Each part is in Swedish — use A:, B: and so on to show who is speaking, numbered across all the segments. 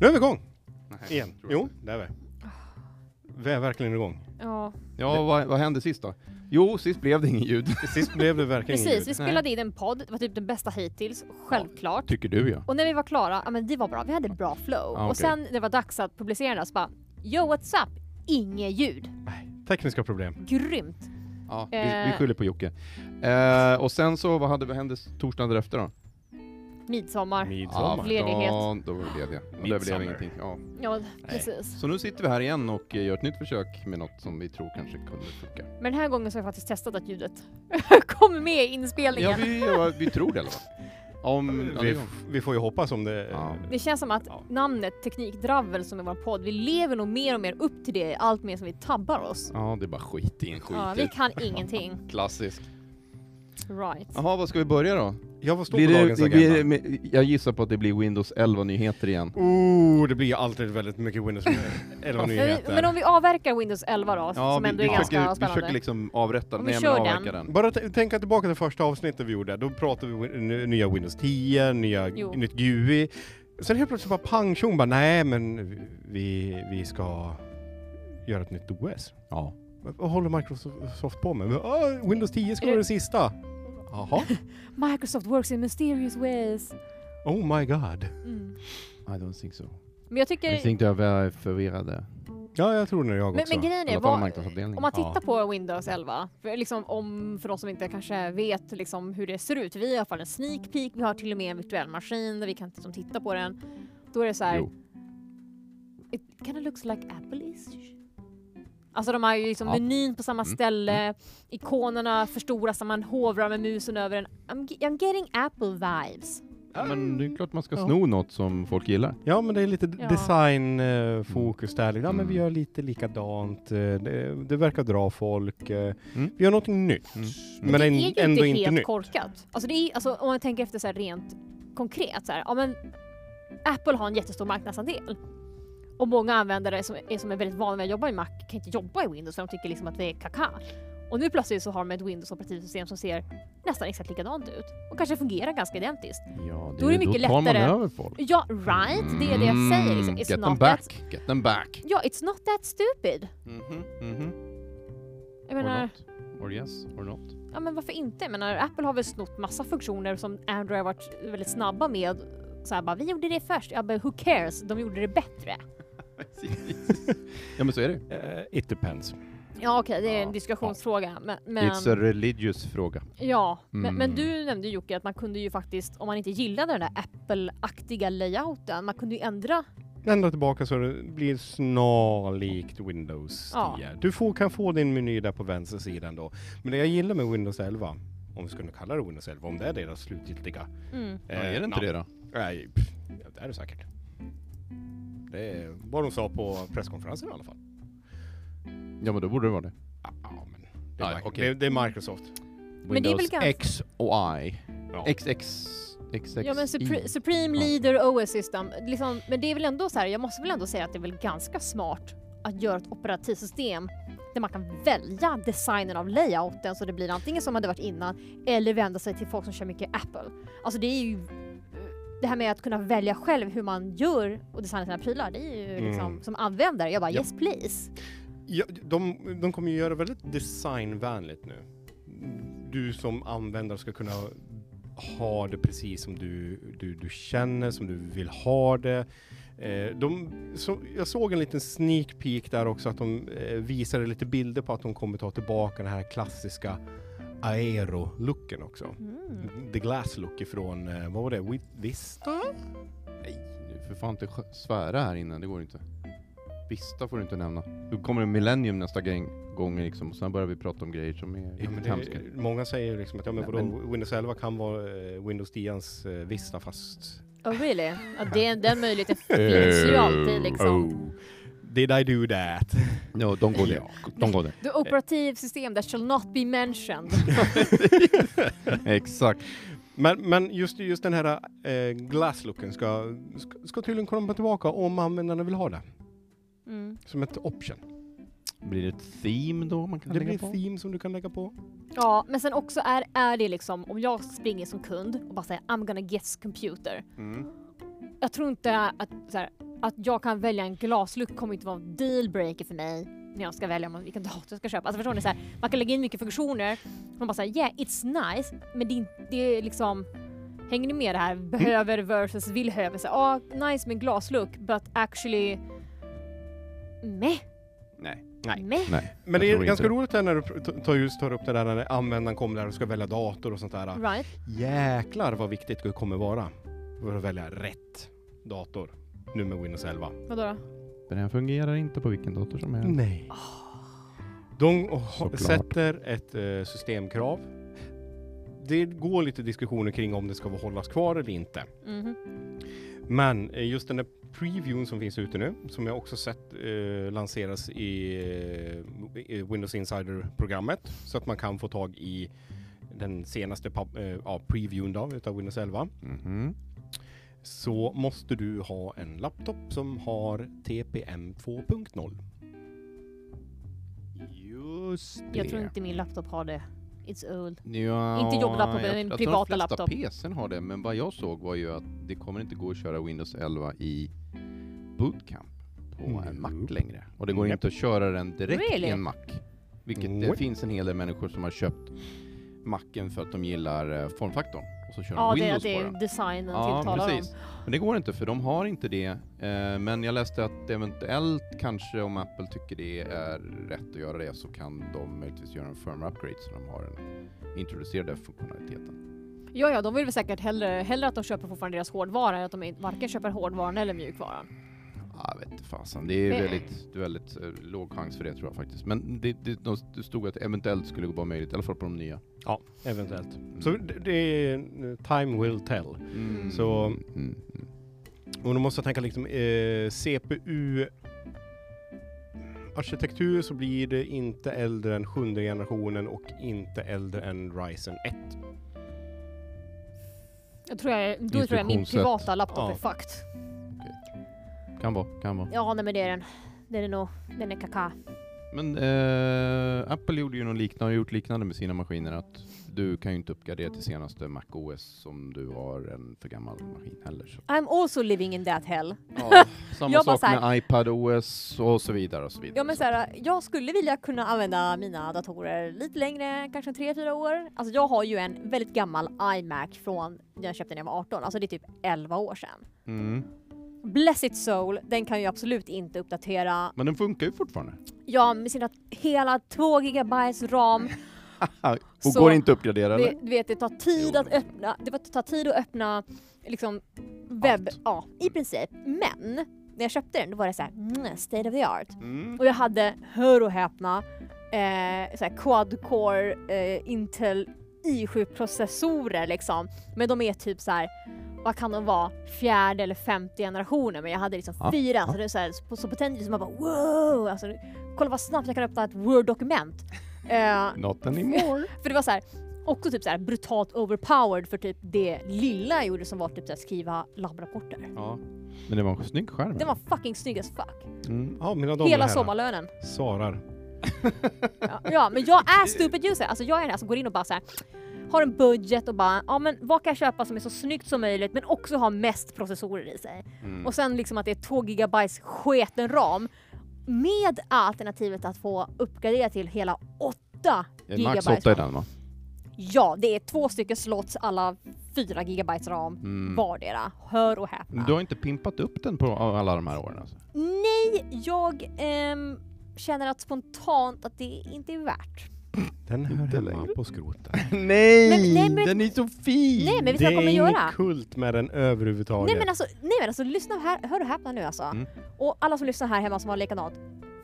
A: Nu är vi igång!
B: Nej,
A: Igen.
B: tror jag
A: Jo, det är vi. Vi är verkligen igång.
C: Ja,
B: Ja, vad, vad hände sist då? Jo, sist blev det ingen ljud.
A: Sist blev det verkligen
C: precis. Vi
A: inget ljud.
C: spelade in en podd, det var typ den bästa hittills, självklart.
B: Tycker du ja.
C: Och när vi var klara, ja men det var bra, vi hade bra flow.
B: Ja, Ah, okej.
C: Och sen när det var dags att publicera den så bara, yo what's up? Inget ljud.
A: Tekniska problem.
C: Grymt.
B: ja vi,
C: Eh.
B: vi skyller på Jocke. Eh, och sen så, vad, hade, vad hände torsdagen därefter då?
C: Midsommar.
A: Midsommar.
C: fler- Ledighet.
B: Ja, då var vi lediga. Och det blev
A: Midsommar.
B: ingenting. Ja.
C: Ja, precis.
B: Så nu sitter vi här igen och eh, gör ett nytt försök med något som vi tror kanske kunde funka.
C: Men den här gången så har jag faktiskt testat att ljudet kom med i inspelningen.
B: Ja, vi, ja, vi tror det i alla fall. Om, ja, det är
A: Vi,
B: ju-
A: vi får ju hoppas om det...
B: Ja.
C: Det känns som att
A: Ja.
C: namnet Teknikdravel som är vår podd, vi lever nog mer och mer upp till det allt mer som vi tabbar oss.
B: ja, det är bara skit in, skit
C: Ja, vi
B: ut.
C: kan ingenting.
B: Klassisk.
C: Right.
B: Jaha, vad ska vi börja då?
A: Jag får stå
B: Blir
A: på
B: det,
A: dagens
B: det,
A: agenda.
B: blir det, med- jag gissar på att det blir Windows 11-nyheter igen.
A: Oh, det blir alltid väldigt mycket Windows 11
C: Men vi-
A: nyheter.
C: Men om vi avverkar Windows 11 då, Alltså, som ändå är
B: vi,
C: ganska
B: försöker, vi
C: spännande.
B: försöker liksom avrätta
C: Om
B: den,
C: vi
B: nej men
C: kör
B: avverka den.
A: Bara t- tänka tillbaka till första avsnittet vi gjorde. Då pratade vi win- n- nya Windows 10, nya,
C: Jo.
A: nytt GUI. Sen helt plötsligt bara pang tjong bara, nej men vi, vi ska göra ett nytt OS.
B: Ja.
A: Vad vad håller Microsoft på med? Ah, Windows 10 ska
C: Är
A: vara
C: det-
A: det sista. Jaha.
C: Microsoft works in mysterious ways.
A: Oh my god.
C: Mm.
B: I don't think so.
C: Men jag
B: Jag
C: tycker...
B: tänkte jag var förvirrade.
A: Ja, jag tror nu jag
C: Men,
A: också.
C: men grejen
B: I
C: är,
B: alla fall
C: vad, om
B: marknadsavdelningen.
C: man
A: Ja.
C: tittar på Windows 11, för, liksom, om, för de som inte kanske vet liksom, hur det ser ut, vi har i alla fall en sneak peek, vi har till och med en virtuell maskin där vi kan liksom, titta på den. Då är det så här,
B: Jo.
C: it kind of looks like Apple-ish. Alltså de har ju liksom
B: Ja.
C: menyn på samma
B: Mm,
C: ställe, ikonerna förstoras när man hovrar med musen över den. I'm, ge- I'm getting Apple-vibes.
B: Ja, men det är klart man ska
A: Ja.
B: sno något som folk gillar.
A: Ja, men det är lite
C: Ja.
A: designfokus där. Liksom. Ja, men vi
B: Mm.
A: gör lite likadant. eh, Det, det verkar dra folk. eh,
B: Mm.
A: Vi gör någonting nytt.
B: Mm.
A: Men,
C: det är
A: en-
C: ju
A: ändå
C: inte
A: inte
C: helt
A: nytt.
C: korkat. Alltså, det är, alltså, om man tänker efter så här rent konkret så här, ja men Apple har en jättestor marknadsandel. Och många användare som är, som är väldigt vana vid att jobba i Mac kan inte jobba i Windows för de tycker liksom att det är kaka. Och nu plötsligt så har de ett Windows-operativsystem som ser nästan exakt likadant ut och kanske fungerar ganska identiskt.
B: Ja,
C: Då är det mycket
B: då tar
C: lättare.
B: man över folk.
C: Ja, right, det är det jag säger. Liksom.
B: Mm,
C: It's
B: Get
C: not
B: them
C: That,
B: back, get them back.
C: ja, it's not that stupid.
B: Mhm, mhm.
C: Jag
B: Or
C: menar,
B: not. Or yes, or not.
C: ja men varför inte? Jag menar, Apple har väl snott massa funktioner som Android har varit väldigt snabba med. Så här, bara, vi gjorde det först. Ja, men who cares? De gjorde det bättre.
B: ja men så är det ju.
A: Eh, it depends.
C: Ja, okej, det är
B: Ja,
C: en diskussionsfråga. Men, men,
B: It's a religious fråga.
C: ja,
B: Mm.
C: men, men du nämnde Jocke att man kunde ju faktiskt, om man inte gillade den där Apple-aktiga layouten, man kunde ju ändra.
A: Ändra tillbaka så det blir snarlikt Windows 10.
C: Ja.
A: Du får, kan få din meny där på vänster sida ändå. Men det jag gillar med Windows 11, om vi ska nu kalla det Windows 11, om det är deras slutgiltiga...
C: Mm.
B: Eh, Ja, är det inte det då?
A: Eh, Nej, pff, ja, det är det säkert. Det är vad de sa på presskonferensen i alla fall.
B: Ja men då borde det vara det.
A: Ja, ja, men det, är
B: Nej,
A: Microsoft.
B: okej.
A: det, det är Microsoft.
C: Men det är väl
B: Windows
C: ganska-
B: X och I.
A: Ja.
B: XX... XX
C: Ja men Supre- Supreme
B: Ja.
C: Leader OS System, liksom, men det är väl ändå så här, jag måste väl ändå säga att det är väl ganska smart att göra ett operativsystem där man kan välja designen av layouten så det blir antingen som det varit innan eller vända sig till folk som kör mycket Apple. Alltså det är ju det här med att kunna välja själv hur man gör och designar sina prylar, det är ju liksom
A: Mm.
C: som användare, jag bara
A: Ja.
C: yes please.
A: Ja, de, de kommer ju göra väldigt designvänligt nu. Du som användare ska kunna ha det precis som du, du, du känner, som du vill ha det. Eh, de, så, jag såg en liten sneak peek där också att de eh, visade lite bilder på att de kommer ta tillbaka den här klassiska aero-looken också.
C: Mm.
A: The glass look ifrån, eh, vad var det, Wi- Vista?
B: Nej, nu för fan inte skö- svära här inne, det går inte. Vista får du inte nämna. Då kommer det millennium nästa gäng- gång liksom, och sen börjar vi prata om grejer som är
A: Ja, men
B: riktigt hemska.
A: det, många säger liksom att ja, men
B: Nej,
A: vadå, Windows 11 kan vara eh, Windows 10s eh, Vista fast Eh,
C: Oh really? Ja, det, den möjligheten finns ju alltid liksom.
A: Oh. Did I do that?
B: Ja, de går det.
A: Ja.
B: De går det.
C: The operativsystem that shall not be mentioned.
B: Exakt.
A: Men, men just, just den här eh, glasslooken ska, ska, ska tydligen komma tillbaka om användarna vill ha det.
C: Mm.
A: Som ett option.
B: Blir det ett theme då man kan
A: Det
B: lägga
A: blir
B: på?
A: ett theme som du kan lägga på.
C: Ja, men sen också är, är det liksom om jag springer som kund och bara säger I'm gonna guess computer.
B: Mm.
C: Jag tror inte att så här, att jag kan välja en glaslukt kommer inte vara en dealbreaker för mig när jag ska välja om- vilken dator jag ska köpa. Alltså förstår ni? Så här, man kan lägga in mycket funktioner. Man bara säger yeah it's nice men det är, inte- det är liksom Hänger ni med det här? Behöver versus vill höver. Så, ah, nice med glasluck but actually meh,
B: Nej.
A: Nej.
C: meh.
B: Nej.
A: Men det
B: Jag
A: är
B: tror
A: ganska
B: inte.
A: roligt här när du pr- tar, just tar upp det där när användaren kommer där och ska välja dator och sånt där.
C: Right?
A: Jäklar vad viktigt det kommer vara för att välja rätt dator nu med Windows 11.
C: Vadå då?
B: Den här fungerar inte på vilken dator som helst.
A: Nej. Ah. De ha-
B: Såklart.
A: sätter ett eh, systemkrav. Det går lite diskussioner kring om det ska hållas kvar eller inte.
C: Mhm.
A: Men eh, just den där previewn som finns ute nu, som jag också sett eh, lanseras i eh, i Windows Insider-programmet, så att man kan få tag i den senaste pub- eh, ja, previewn då, utav Windows 11,
B: Mhm.
A: så måste du ha en laptop som har TPM 2.0.
B: Just det.
C: Jag tror inte min laptop har det. It's old.
B: Ja,
C: Inte jobblaptopen,
B: jag-
C: men
B: jag
C: privata
B: tror de flesta
C: laptop.
B: PCn har det, men vad jag såg var ju att det kommer inte gå att köra Windows 11 i bootcamp på en
A: Nope.
B: Mac längre. Och det går
A: Nope.
B: inte att köra den direkt
C: Really?
B: i en Mac. Vilket det
A: Nope.
B: finns en hel del människor som har köpt Macen för att de gillar eh, formfaktorn. Och så kör
C: Ja,
B: de
C: det,
B: Windows
C: det
B: på
C: är
B: den.
C: designen
B: Ja,
C: tilltalar dem.
B: precis. Men det går inte för de har inte det. Eh, men jag läste att eventuellt kanske om Apple tycker det är rätt att göra det så kan de möjligtvis göra en firmware upgrade så de har en, introducerar den funktionaliteten.
C: Ja, ja, de vill väl säkert hellre, hellre att de köper fortfarande deras hårdvara än att de varken köper hårdvaran eller mjukvaran.
B: Ah, vet inte fasen. Det är
C: Eh.
B: väldigt, det är väldigt eh, låg chans för det tror jag faktiskt. Men det, det, de- det stod att eventuellt skulle vara möjligt, i alla fall på de nya.
A: Ja, eventuellt.
B: Mm.
A: Så det, det är, time will tell.
B: Mm.
A: så-
B: Mm, mm, mm.
A: Och då måste jag tänka liksom eh, CPU arkitektur så blir det inte äldre än sjunde generationen och inte äldre än Ryzen 1.
C: Jag tror jag, då tror jag min
B: Instruktionssätt.
C: privata laptop
A: Ja.
C: är fucked.
B: Kan vara, kan vara.
C: Ja, nej men det är den. Det är den nog. Den är kaka.
B: Men eh, Apple gjorde ju något liknande, har gjort liknande med sina maskiner att du kan ju inte uppgradera till senaste Mac OS om du har en för gammal maskin heller. Så.
C: I'm also living in that hell.
B: Samma
C: Jag bara
B: sak
C: så här-
B: med iPad OS och så vidare och så vidare.
C: Ja men såhär, jag skulle vilja kunna använda mina datorer lite längre, kanske 3-4 år. Alltså jag har ju en väldigt gammal iMac från när jag köpte den när jag var 18, alltså det är typ 11 år sedan.
B: mm.
C: Bless its soul, den kan ju absolut inte uppdatera.
B: Men den funkar ju fortfarande.
C: Ja, med sina hela 2 gigabytes ram.
B: och
C: Så-
B: går inte att uppgradera
C: Det,
B: eller?
C: du vet, det tar tid
B: Jo.
C: att öppna, det var- tar tid att öppna liksom webb, ja i princip. Men när jag köpte den då var det såhär, mm, state of the art.
B: Mm.
C: Och jag hade, hör och häpna, eh, såhär quad-core eh, Intel i7-processorer liksom. Men de är typ så här. vad kan de vara, fjärde eller femte generationen. Men jag hade liksom
B: Ja,
C: fyra,
B: ja.
C: så det är så, här, så, så potent som man bara wow! Alltså, kolla vad snabbt jag kan öppna ett word-dokument. Eh,
B: Not anymore.
C: för det var så här, också typ så här brutalt overpowered för typ det lilla jag gjorde som var typ så här, skriva labbrapporter.
B: ja. Men det var en snygg skärm.
C: Den var fucking snygg as fuck.
B: Mm.
A: Ja, mina damer och
C: Hela
A: herrar.
C: sommarlönen.
A: Svarar.
C: Ja, ja men jag är stupid user. Alltså jag är den här som går in och bara så här, har en budget och bara, ja men vad kan jag köpa som är så snyggt som möjligt men också har mest processorer i sig.
B: Mm.
C: Och sen liksom att det är 2 gigabytes sketen ram med alternativet att få uppgradera till hela 8
B: Det är max
C: gigabytes.
B: 8 i den va?
C: Ja, det är två stycken slots alla 4 gigabytes ram
B: Mm.
C: vardera. Hör och häpna.
B: Du har inte pimpat upp den på alla de här åren alltså?
C: Nej, jag ehm, känner att spontant att det inte är värt.
A: Den hör
B: Inte
A: hemma
B: längre.
A: på skroten.
B: nej!
C: Men- nej, men-
B: Den är så fin!
C: Nej, men
A: det
C: vet du vad jag
A: är
C: kommer
A: ingen
C: göra?
A: kult med den överhuvudtaget.
C: Nej men, alltså, nej men alltså, lyssna här, hör och häpna nu alltså.
B: Mm.
C: Och alla som lyssnar här hemma som har likadant,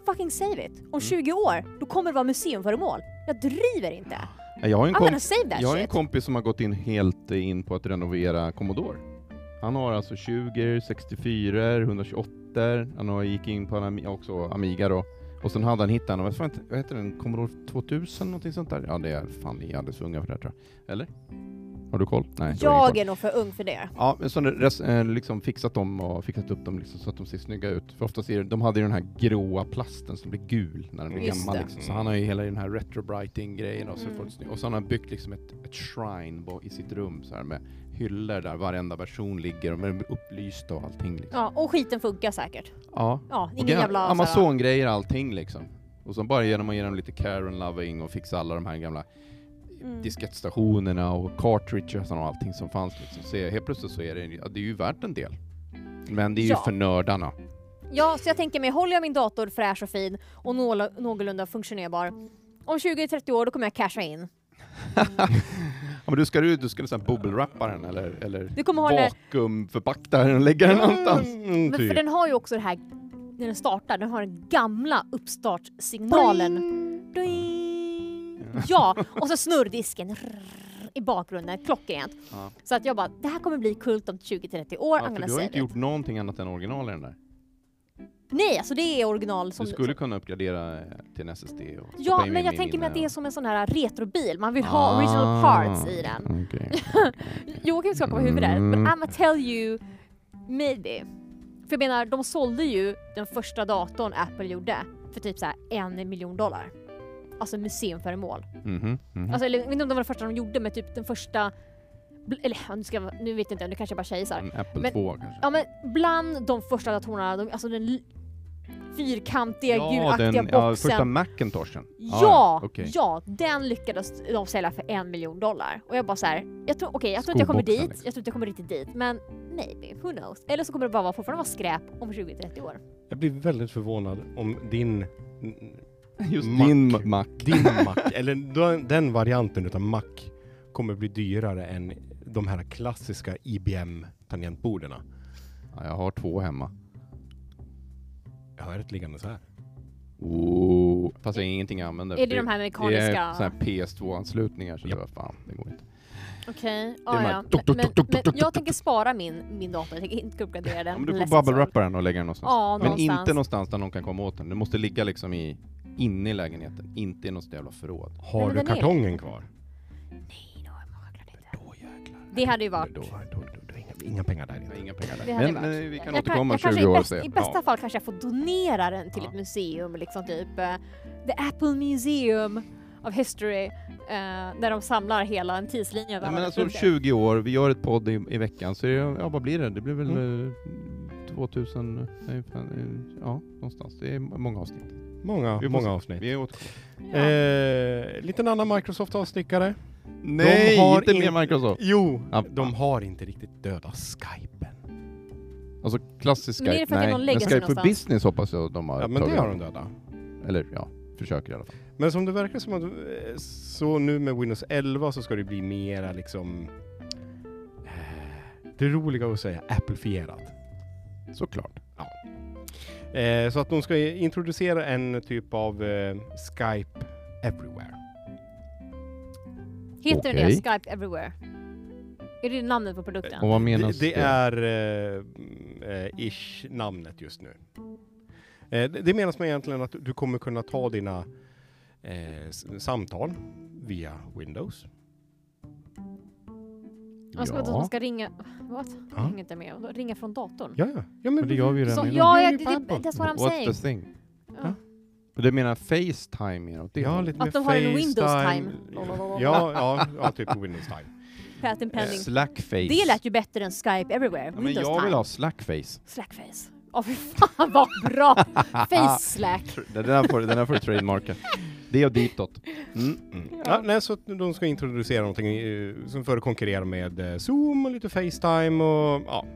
C: fucking save it.
B: Mm.
C: Om 20 år, då kommer det vara museumföremål. Jag driver inte.
B: Jag har en
C: I'm
B: kompis
C: gonna save that
B: Jag har en
C: shit.
B: kompis som har gått in helt in på att renovera Commodore. Han har alltså 20, 64, 128, han har gick in på en Ami- också Amiga då. Och sen hade han hittat en, vad, fan, vad heter den, Commodore 2000 någonting sånt där? Ja det är fan, ni är alldeles för unga för det här tror jag. Eller? Har du koll? Nej, du har ingen
C: Jag
B: koll.
C: är nog för ung för det.
B: Ja, men så har de res- eh, liksom fixat dem och fixat upp dem liksom så att de ser snygga ut. För oftast är det, de hade ju den här gråa plasten som blir gul när den blir
C: Just
B: gammal.
C: det.
B: Liksom. Så han har ju hela den här retrobrighting-grejen och så,
C: Mm.
B: får det snyggt. och så har han byggt liksom ett, ett shrine bo- i sitt rum så här med hyllor där varenda version ligger och med upplysta och allting. Liksom.
C: Ja, och skiten funkar säkert.
B: Ja.
C: Ja,
B: Och
C: ingen
B: gam-
C: jävla... alltså- såhär-
B: Amazon-grejer allting liksom. Och så bara genom att ge dem lite care and loving och fixa alla de här gamla
C: Mm.
B: diskettstationerna och cartridges och allting som fanns. Liksom. Så helt plötsligt så är det, ja, det är ju värt en del. Men det är ju
C: Ja.
B: för nördarna.
C: Ja, så jag tänker mig, håller jag min dator fräsch och fin och nåla- någorlunda funktionerbar, om 20-30 år då kommer jag casha in.
B: Ja, men du ska du, du ska liksom bubbelwrappa den eller, eller
C: Du kommer ha den här-
B: vakuumförpacka den och lägga den någonstans.
A: Mm,
C: Men för
A: typ.
C: den har ju också det här, när den startar, den har den gamla uppstartssignalen. Ja, och så snurrdisken rrrr, i bakgrunden, klockrent.
B: Ja.
C: Så att jag bara, det här kommer bli kult om 20-30 år.
B: Ja, för
C: I'm gonna
B: du har
C: say
B: ju inte
C: it.
B: gjort någonting annat än original i den där.
C: Nej, alltså det är original som...
B: Du skulle kunna uppgradera eh, till en SSD och
C: Ja, men jag tänker mig att det är som en sån här retrobil. Man vill ha
B: eh, Ah.
C: original parts i den.
B: Okej.
C: Joakim skakar på huvudet där,
B: Mm.
C: men I'mma tell you maybe. För jag menar, de sålde ju den första datorn Apple gjorde för typ så här en miljon dollar. Alltså museumföremål.
B: Mhm, mhm.
C: Alltså, eller, jag vet inte om det var det första de gjorde, men typ den första... bl- Eller ja, nu, ska, jag vara- nu vet jag inte, nu kanske jag bara tjejsar.
B: En Apple
C: men-
B: 2 kanske?
C: Ja men bland de första datorerna, de, alltså den l- fyrkantiga
B: ja,
C: gulaktiga
B: den ja,
C: boxen.
B: första Macintoshen?
C: Ja,
B: okej.
C: ja, den lyckades de sälja för en miljon dollar. Och jag bara så här, jag tror, okej jag tror inte jag kommer dit,
B: Skoboxen,
C: jag
B: liksom.
C: tror inte jag kommer riktigt dit, men maybe, who knows. Eller så kommer det bara vara, fortfarande vara skräp om 20-30 år.
A: Jag blir väldigt förvånad om din,
B: Just
A: Mac.
B: din Mac.
A: din Mac, eller den- den varianten utav Mac, kommer bli dyrare än de här klassiska IBM-tangentborden.
B: Ja, jag har två hemma.
A: Jag har ett liggande så här.
B: Oh. Fast det är ingenting jag använder.
C: Är det de här
B: Det är såna
C: mekaniska?
B: här PS2-anslutningar så
A: Ja.
B: det var fan, det går inte.
C: Okej,
B: de
C: ja
B: här
C: ja.
B: tuk, tuk,
C: Men,
B: tuk, tuk,
C: men
B: tuk,
C: jag tänker spara min, min dator, jag tänker inte uppgradera den.
B: Ja, men du
C: unless
B: får
C: it's all-
B: bubble-wrappa den och lägga den någonstans.
C: Ja,
B: men
C: någonstans.
B: inte någonstans där någon kan komma åt den. Du måste ligga liksom i, inne i lägenheten, inte i något jävla förråd.
A: Har
C: men
A: du
C: den är-
A: kartongen kvar?
C: Nej, det har jag självklart inte.
B: Då jäklar.
C: Det hade ju varit...
A: Då, då, då, då, inga, inga pengar där
B: Jag har
A: inte.
B: inga pengar
C: Det
B: där.
C: hade
B: Men,
C: varit.
B: eh, vi kan
C: jag
B: återkomma
C: jag kanske
B: 20 år
C: i,
B: och
C: bäst,
B: se.
C: I bästa
B: Ja.
C: fall kanske jag får donera den till
B: Ja.
C: ett museum, liksom typ eh, The Apple Museum of History, eh, där de samlar hela en tidslinje. över
B: Nej,
C: alla
B: men alltså om
C: produkter.
B: 20 år, vi gör ett podd i, i veckan, så är det, ja, vad blir det? Det blir väl
C: Mm.
B: eh, 2000, nej, fan, eh, ja någonstans. Det är många avsnitt.
A: Många,
B: Vi får
A: många
B: se.
A: avsnitt.
B: Vi är åter-
C: Ja.
A: Eh, liten annan Microsoft-avstickare.
B: Nej,
A: har
B: inte
A: in-
B: mer Microsoft!
A: Jo,
B: Ja.
A: de har inte riktigt döda Skypen.
B: Alltså klassisk
C: Men är det
B: Skype,
C: för att
B: nej.
C: någon
B: Men
C: lägger sig
B: Skype för
C: någonstans?
B: business hoppas jag de har
A: Ja, men det
B: tagit.
A: har de döda.
B: Eller ja, försöker i alla fall.
A: Men som det verkar som att, eh, så nu med Windows 11 så ska det bli mera liksom, eh, det roliga att säga, Apple-fierat.
B: Såklart.
A: Eh, så att de ska introducera en typ av eh, Skype Everywhere.
C: Heter den det
B: Okej.
C: Skype Everywhere? Är det namnet på produkten?
B: Och vad menas
A: Det, det är eh, mm, eh, ish namnet just nu. Eh, det, det menas med egentligen att du kommer kunna ta dina eh, s- samtal via Windows.
C: Man ska,
B: Ja.
C: man ska ringa... What? Jag
A: Ja.
C: hänger inte med. Ringa från datorn?
A: Ja, ja. ja men,
B: Men det gör vi ju
C: Så,
B: redan idag.
C: ja,
A: det är
C: jag,
A: ju
C: det,
A: på
C: det,
A: Apple.
C: that's what I'm
B: What's
C: saying.
B: the thing?
C: Ja.
B: Du menar Facetime är åt det
A: Ja,
B: hållet?
A: lite
C: Att
A: med
C: de har en
A: FaceTime.
C: Windows-time. Lalalala.
A: Ja, ja, ja, typ Windows time.
C: Patent pending.
B: Slackface.
C: Det lät ju bättre än Skype Everywhere.
B: Eh, ja, men
C: Windows
B: jag
C: time.
B: vill ha slackface.
C: Slackface. Ja, fy fan vad bra! Face slack.
B: Den där får, den där får du trademarka. Det är ditåt. Mm.
A: Mm.
C: Ja.
A: Ja, nej, så att de ska introducera någonting eh, som för att konkurrera med eh, Zoom och lite Facetime och ja.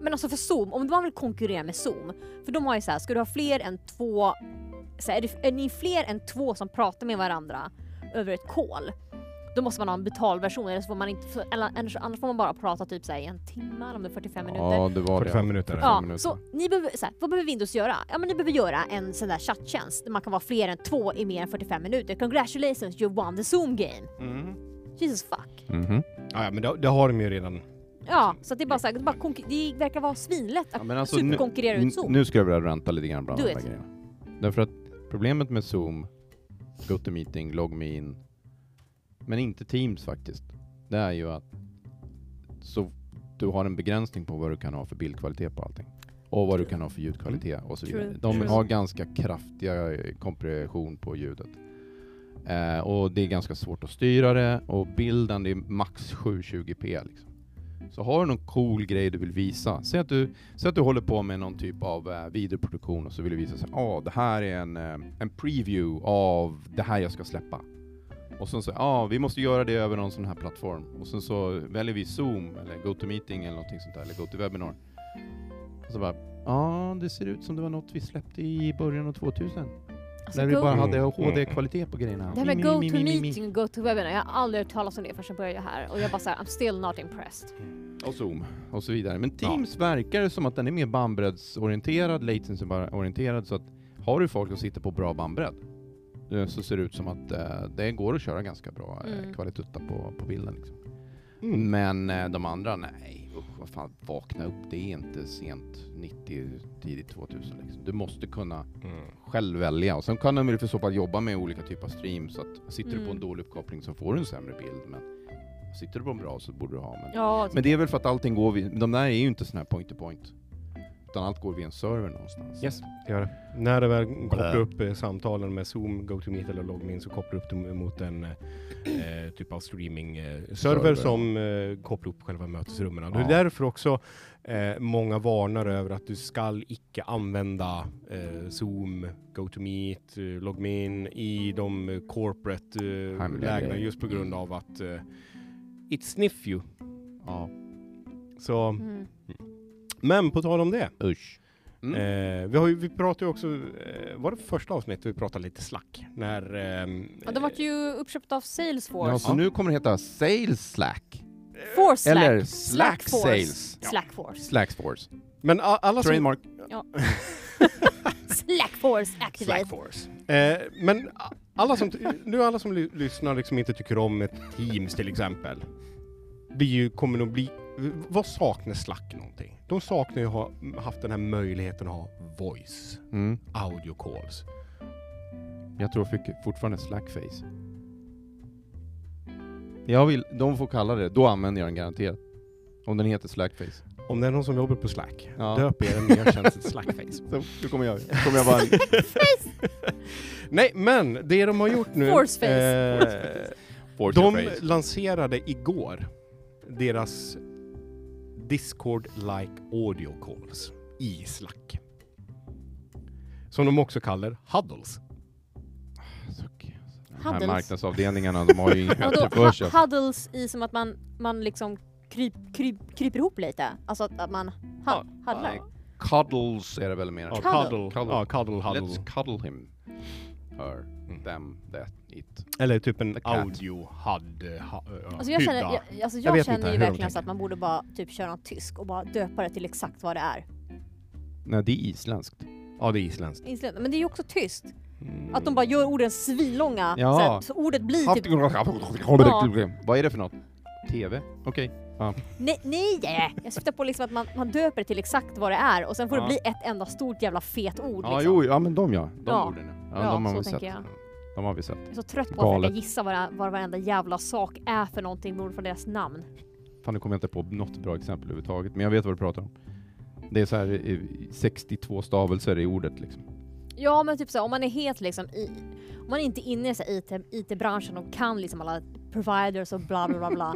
C: Men alltså för Zoom, om man vill konkurrera med Zoom, för de har ju så här, ska du ha fler än två, så här, är, det, är ni fler än två som pratar med varandra över ett call, då måste man ha en betalversion, eller så får man inte, för- eller, annars, annars får man bara prata typ så här, i en timme, eller om det är 45 minuter.
B: Ja, det var
A: 45
B: det.
A: minuter.
C: Ja,
B: minuter.
C: så ni behöver, så här, vad behöver Windows göra? Ja men ni behöver göra en sån där chatttjänst där man kan vara fler än två i mer än 45 minuter. Congratulations, you won the Zoom game!
A: Mm.
C: Jesus fuck!
B: Mhm.
A: Ja, ja, men det, det har de ju redan.
C: Ja, så att det är bara så här, det, är bara konkur- det verkar vara svinlätt
B: Ja,
C: att
B: men alltså, nu-
C: superkonkurrera
B: N-
C: ut Zoom.
B: Nu ska jag börja ranta lite grann bland
C: Do
B: de här
C: it.
B: grejerna. Därför att problemet med Zoom, GoToMeeting, LogMeIn, men inte Teams faktiskt. det är ju att så du har en begränsning på vad du kan ha för bildkvalitet på allting. Och vad du kan ha för ljudkvalitet och så vidare.
C: Mm. True,
B: De
C: true.
B: har ganska kraftiga eh, kompression på ljudet. Eh, och det är ganska svårt att styra det och bilden det är max 720p. Liksom. Så har du någon cool grej du vill visa, säg att du, säg att du håller på med någon typ av eh, videoproduktion och så vill du visa att ah, det här är en, eh, en preview av det här jag ska släppa. Och sen så, ja, ah, vi måste göra det över någon sån här plattform. Och sen så väljer vi Zoom eller GoToMeeting eller någonting sånt där, eller GoToWebinar. Och så bara, ja, ah, det ser ut som det var något vi släppte i början av 2000.
C: Alltså,
B: När vi
C: go-
B: bara hade
A: Mm.
B: HD-kvalitet på grejerna.
C: Det här med
B: Mi, mi, mi, mi, mi, mi.
C: GoToMeeting och GoToWebinar, jag har aldrig hört talas om det förrän jag började här och jag bara såhär, I'm still not impressed.
B: Och Zoom och så vidare. Men Teams verkar det som att den är mer bandbreddsorienterad, latency-orienterad, så att har du folk som sitter på bra bandbredd eh, så ser det ut som att eh, det går att köra ganska bra eh,
C: Mm.
B: kvalitutta på, på bilden. Liksom.
A: Mm.
B: Men eh, de andra, nej, usch, vad fan, vakna upp. Det är inte sent 90, tidigt 2000. Liksom. Du måste kunna
A: Mm.
B: själv välja och sen kan de väl för så fall jobba med olika typer av stream så att sitter du på en
C: Mm.
B: dålig uppkoppling så får du en sämre bild men sitter du på en bra så borde du ha men
C: Ja,
B: men det är väl för att allting går vid, de där är ju inte sådana här point to point. Utan allt går via en server någonstans.
A: Yes. Gör det. När du väl kopplar upp eh, samtalen med Zoom, GoToMeet eller LogMeIn så kopplar du upp dem mot en eh, typ av streaming-server
B: Server.
A: som eh, kopplar upp själva mötesrummen. Det
B: Ja.
A: är därför också eh, många varnar över att du skall icke använda eh, Zoom, GoToMeet, eh, LogMeIn i de eh, corporate eh,
B: men det är
A: lägena
B: det.
A: just på grund av att eh, it sniff you.
B: Ja.
A: Så,
C: Mm.
A: men på tal om det.
B: Usch. Mm.
A: Eh, vi, har ju, vi pratade ju också, eh, var det första avsnittet vi pratade lite slack? När... ehm,
C: Ja, typ- de vart ju uppköpta av Salesforce.
B: ja, så nu kommer det heta Sales Slack.
C: Force Slack.
B: Eller Slack,
C: Slackforce.
B: Sales.
C: Slackforce.
B: Slackforce.
A: men a- alla som,
B: Trademark.
C: Slackforce activate.
A: Slackforce. Eh, men a- alla som, nu alla som ly- lyssnar liksom inte tycker om ett Teams till exempel. Blir ju, kommer nog bli, vad saknar Slack någonting? De saknar ju ha haft den här möjligheten att ha voice,
B: Mm.
A: audio calls.
B: Jag tror fick- fortfarande Slackface. Jag vill, de får kalla det, då använder jag den garanterat. Om den heter Slackface.
A: Om det är någon som jobbar på Slack,
B: Ja.
A: döp er den nya tjänsten Slackface.
B: Så, då kommer jag, kommer jag bara...
A: Nej, men det de har gjort nu...
C: Forceface.
A: eh,
B: Force your
A: De
B: face.
A: lanserade igår deras Discord-like audio calls i Slack. Som de också kallar huddles.
B: Suck. De här
C: Huddles.
B: marknadsavdelningarna, de har ju inget
C: Och då
B: bättre för sig.
C: hu- huddles i som att man, man liksom kryp, kryp, kryper ihop lite. Alltså att, att man ha, huddlar.
B: Ja, Cuddles är det väl mer.
A: Ja,
C: Cuddle.
A: cuddle. Ja, cuddle huddle.
B: Let's cuddle him. Her,
A: Mm.
B: them, that, it.
A: Eller typ en
B: The cat.
A: audio hud, ha, ja,
C: Alltså jag känner,
A: hydda.
C: jag, alltså
A: Jag
C: jag
A: vet
C: känner
A: inte
C: ju
A: hur de
C: verkligen så
A: tänker.
C: att man borde bara typ köra en tysk och bara döpa det till exakt vad det är.
B: Nej, det är isländskt.
A: Ja, det är isländskt. Mm.
C: Inslä- Men det är ju också tyst. Att de bara gör orden svinlånga.
B: Ja.
C: Så, att, så ordet blir typ...
B: Vad är det för något? TV? Okej.
C: Nej, nej! Jag syftar på liksom att man, man döper det till exakt vad det är och sen får
B: Ja.
C: det bli ett enda stort jävla fet ord.
B: Ja,
C: liksom.
B: jo, ja men de ja. De
C: Ja.
B: borde nu.
C: Ja,
B: Ja, de har
C: så
B: vi
C: tänker
B: sett.
C: jag.
B: De har vi sett.
C: Jag är så trött på att
B: Galet.
C: försöka gissa vad, det- vad varenda jävla sak är för någonting beroende på deras namn.
B: Fan, nu kommer jag inte på något bra exempel överhuvudtaget, men jag vet vad du pratar om. Det är så här eh, 62 stavelser i ordet liksom.
C: Ja men typ så här, om man är helt liksom i, om man inte är inne i så här IT, IT-branschen och kan liksom alla providers och bla bla bla bla.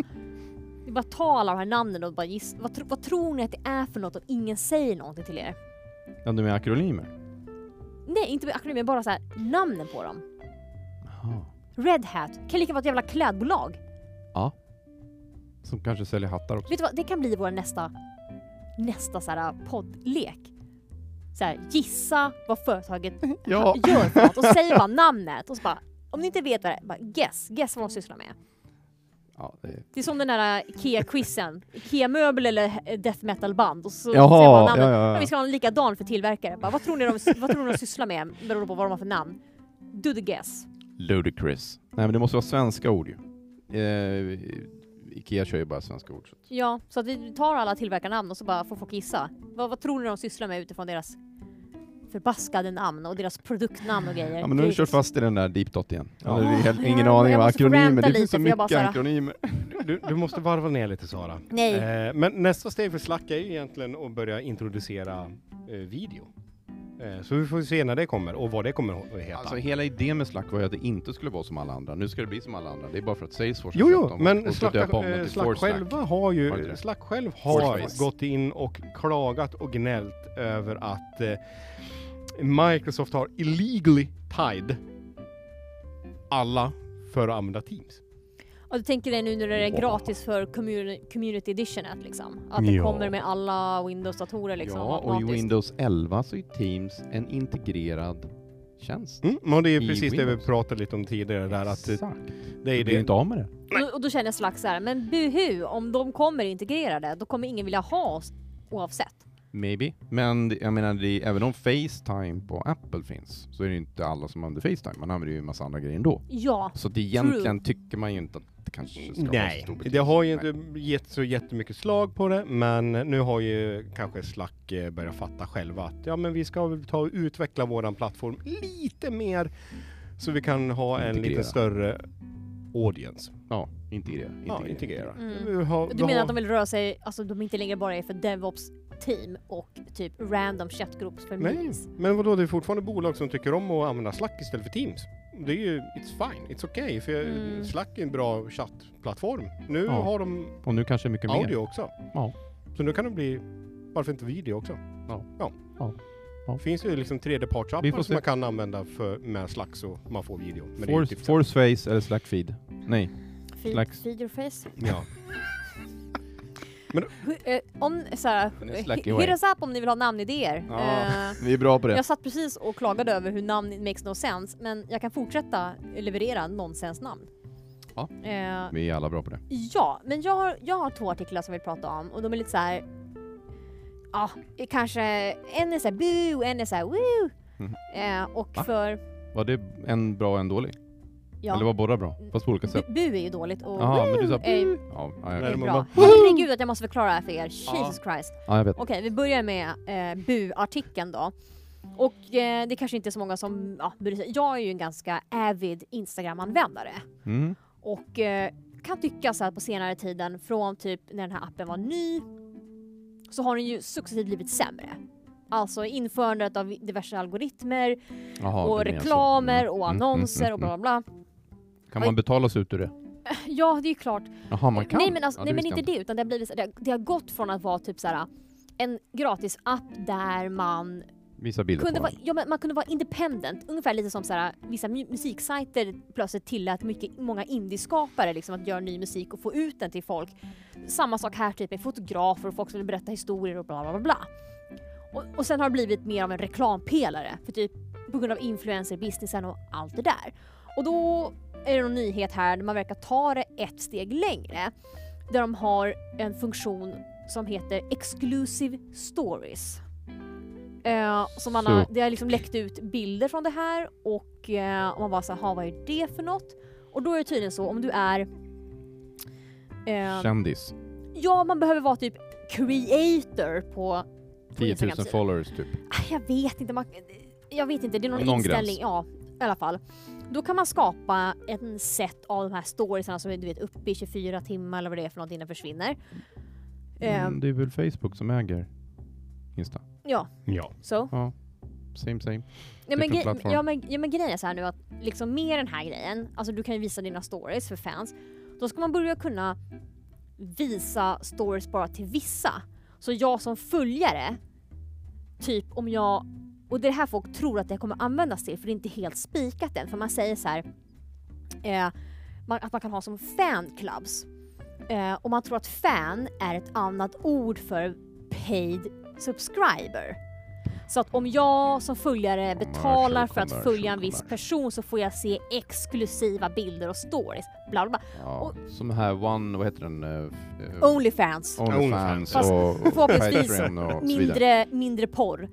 C: Det är bara ta alla de här namnen och bara giss, vad, tro, vad tror ni att det är för något om ingen säger någonting till er?
B: Ja, de är akronymer.
C: Nej inte med akademi, bara så här namnen på dem.
B: Jaha.
C: Red Hat kan lika vara ett jävla klädbolag.
B: Som kanske säljer hattar också.
C: Vet du vad, det kan bli vår nästa, nästa så här äh, poddlek. Så här, gissa vad företaget
B: Ja.
C: gör för något och säger bara namnet och så bara om ni inte vet vad det är, bara guess, guess vad de sysslar med.
B: ja det är...
C: Det är som den där IKEA-quizen. IKEA-möbel eller äh, death metal-band. Och så
B: Jaha,
C: säger man namnet.
B: ja, ja, ja.
C: Men Vi ska ha en likadan för tillverkare. Bara, vad, tror ni de, vad tror ni de sysslar med beroende på vad de har för namn? Do the guess.
B: Ludicrous. Nej men det måste vara svenska ord ju. Eh, Ikea kör ju bara svenska ord. Så. att-
C: Ja, så att vi tar alla tillverkarnamn och så bara får folk gissa. Vad, vad tror ni de sysslar med utifrån deras förbaskade namn och deras produktnamn och grejer?
B: Ja men nu har
C: Det
B: du
C: är-
B: kört fast i den där deep dot igen.
A: Ja.
B: Ja. det är helt, ingen
C: Ja,
B: aning
C: jag
B: om
C: måste få
B: akronymer,
C: vänta
B: det finns
C: lite,
B: så
C: för jag bara
B: mycket
C: så här-
B: akronymer.
A: du, du måste varva ner lite Sara.
C: Nej.
A: Eh, men nästa steg för Slack är ju egentligen att börja introducera eh, video. Eh, så vi får se när det kommer och vad det kommer att heta.
B: Alltså hela idén med Slack var ju att det inte skulle vara som alla andra. Nu ska det bli som alla andra. Det är bara för att Salesforce
A: Jo,
B: har köpt
A: jo,
B: dem och
A: men
B: ska
A: Slack,
B: döpa om dem
A: eh,
B: till
A: Slack
B: Force
A: själva har
B: Var det det?
A: ju, Slack själv
B: Force.
A: har gått in och klagat och gnällt över att eh, Microsoft har illegally tied alla för att använda Teams.
C: Och du tänker dig nu när det är
B: Wow.
C: gratis för community, community editionet liksom? Att det
A: Ja.
C: kommer med alla Windows-datorer liksom
B: ja, och i
C: automatiskt.
B: Windows 11 så är Teams en integrerad tjänst.
A: Mm, och det är
B: I
A: precis det
B: Windows.
A: vi pratade lite om tidigare där att eh,
B: Exakt.
A: det
B: Vi
A: är
B: blir
A: det.
B: inte av med det.
C: Och- Och då känner jag slags så här, men buhu, om de kommer integrerade, då kommer ingen vilja ha oss oavsett.
B: Maybe. Men det- jag menar, det, även om Facetime på Apple finns så är det ju inte alla som använder Facetime. Man använder ju en massa andra grejer ändå.
C: Ja,
B: Så det egentligen tycker man ju inte att det kanske ska vara så
A: Nej,
B: stor
A: det
B: betydelse.
A: har ju
B: Nej.
A: inte gett så jättemycket slag på det, men nu har ju kanske Slack eh, börjat fatta själva att ja, men vi ska väl ta och utveckla våran plattform lite mer så vi kan ha en
B: Integrera.
A: lite större audience.
B: Ja, integrera.
A: Ja, integrera.
C: Mm.
A: Vi har- vi
C: du menar
A: har-
C: att de vill röra sig, alltså de inte längre bara är för DevOps-team och typ random chattgrupps för
A: Nej,
C: meetings.
A: men vadå, det är fortfarande bolag som tycker om att använda Slack istället för Teams. Det är ju, it's fine, it's okay, för
C: Mm.
A: Slack är en bra chattplattform. Nu
B: Ja.
A: har de
B: Och nu kanske mycket mer.
A: audio också.
B: Ja.
A: Så nu kan det bli, varför inte video också?
B: Ja.
A: ja.
B: Ja. Ja.
A: Finns ju liksom
B: Vi
A: tredjepartsappar
B: får se.
A: som man kan använda för, med Slack så man får video. Men det är ju
B: Force,
A: typ
B: force face eller slack feed? Nej.
C: Feed,
B: Slags-
C: feed your face.
A: Ja.
C: Hu- eh, Om såhär,
B: är slack
C: hit
B: away.
C: us up om ni vill ha namnidéer.
B: Ja.
C: Eh,
B: Vi är bra på det.
C: jag satt precis och klagade över hur namn makes no sense, men jag kan fortsätta leverera nonsensnamn.
B: Ja.
C: Eh,
B: Vi är alla bra på det.
C: Ja, men jag har, jag har två artiklar som vi pratar om och de är lite så här. Ja, kanske en är så här boo, en är så här woo.
B: Mhm.
C: Eh, och
B: Va?
C: för
B: Var det en bra och en dålig?
C: ja, Mm.
B: Eller var båda bra? Fast på olika
C: bu,
B: sätt?
C: bu är ju dåligt och
B: Jaha, men du sa...
C: eh, är
B: Ja, ja, jag
A: Nej,
B: vet.
A: men
C: bra.
A: bara-
C: Herregud att jag måste förklara det här för er. Jesus Christ.
B: Ja, jag vet.
C: Okej, vi börjar med eh, bu-artikeln då. Och eh, det kanske inte är så många som ja, bryr sig. Jag är ju en ganska avid Instagram-användare.
B: Mm.
C: Och eh, kan tycka så här på senare tiden, från typ när den här appen var ny, så har den ju successivt blivit sämre. Alltså införandet av diverse algoritmer
B: Jaha,
C: och
B: du menar så.
C: reklamer
B: Mm,
C: och
B: mm,
C: annonser
B: mm,
C: och bla bla bla.
B: mm. Kan man betala sig ut ur det?
C: Ja, det är ju klart.
B: Jaha, man kan?
C: Nej men, alltså,
B: Ja,
C: nej, men
B: visste jag
C: inte det, utan det har, blivit, så- det, har, det har gått från att vara typ så här en gratis app där man
B: Visa bilder
C: kunde
B: på
C: vara,
B: dem.
C: ja, men man kunde vara independent, ungefär lite som så här, vissa mu- musiksajter plötsligt tillät mycket, många indieskapare liksom, att göra ny musik och få ut den till folk. Samma sak här typ med fotografer och folk som vill berätta historier och bla bla bla. bla. Och, och sen har det blivit mer av en reklampelare för typ på grund av influencer-businessen och allt det där. Och då är det någon nyhet här där man verkar ta det ett steg längre. Där de har en funktion som heter Exclusive Stories. Eh, så man har,
B: Så.
C: det har liksom läckt ut bilder från det här och eh, och man bara såhär, "Ha, vad är det för något? Och då är det tydligen så om du är... eh,
B: Kändis.
C: ja, man behöver vara typ creator på, på
B: 10 000
C: Instagram-sidan.
B: followers typ.
C: Ah, Jag vet inte. Man, jag vet inte, det är någon,
B: Någon
C: inställning.
B: gräns.
C: Ja, i alla fall. Då kan man skapa en set av de här storiesarna som är du vet, uppe i 24 timmar eller vad det är för något innan det försvinner. Ehm,
B: Mm, det är väl Facebook som äger Insta?
C: ja,
A: Ja.
C: så.
B: Same same.
C: Ja men,
B: Different
C: gre-
B: platform.
C: ja, men, ja men grejen är så här nu att liksom med den här grejen, alltså du kan ju visa dina stories för fans, då ska man börja kunna visa stories bara till vissa. Så jag som följare, typ om jag, och det är det här folk tror att det kommer användas till för det är inte helt spikat än för man säger så här eh, man, att man kan ha som fanclubs. Eh, och man tror att fan är ett annat ord för paid subscriber. Så att om jag som följare betalar för att
B: Commercial,
C: följa en viss
B: commercial.
C: person så får jag se exklusiva bilder och stories. Bla bla bla.
B: Ja, som här One, vad heter den? eh, f- eh,
C: Onlyfans.
B: Onlyfans
A: Onlyfans.
C: Fast
B: och, och
C: förhoppningsvis
B: Patreon och så vidare.
C: mindre, mindre porr.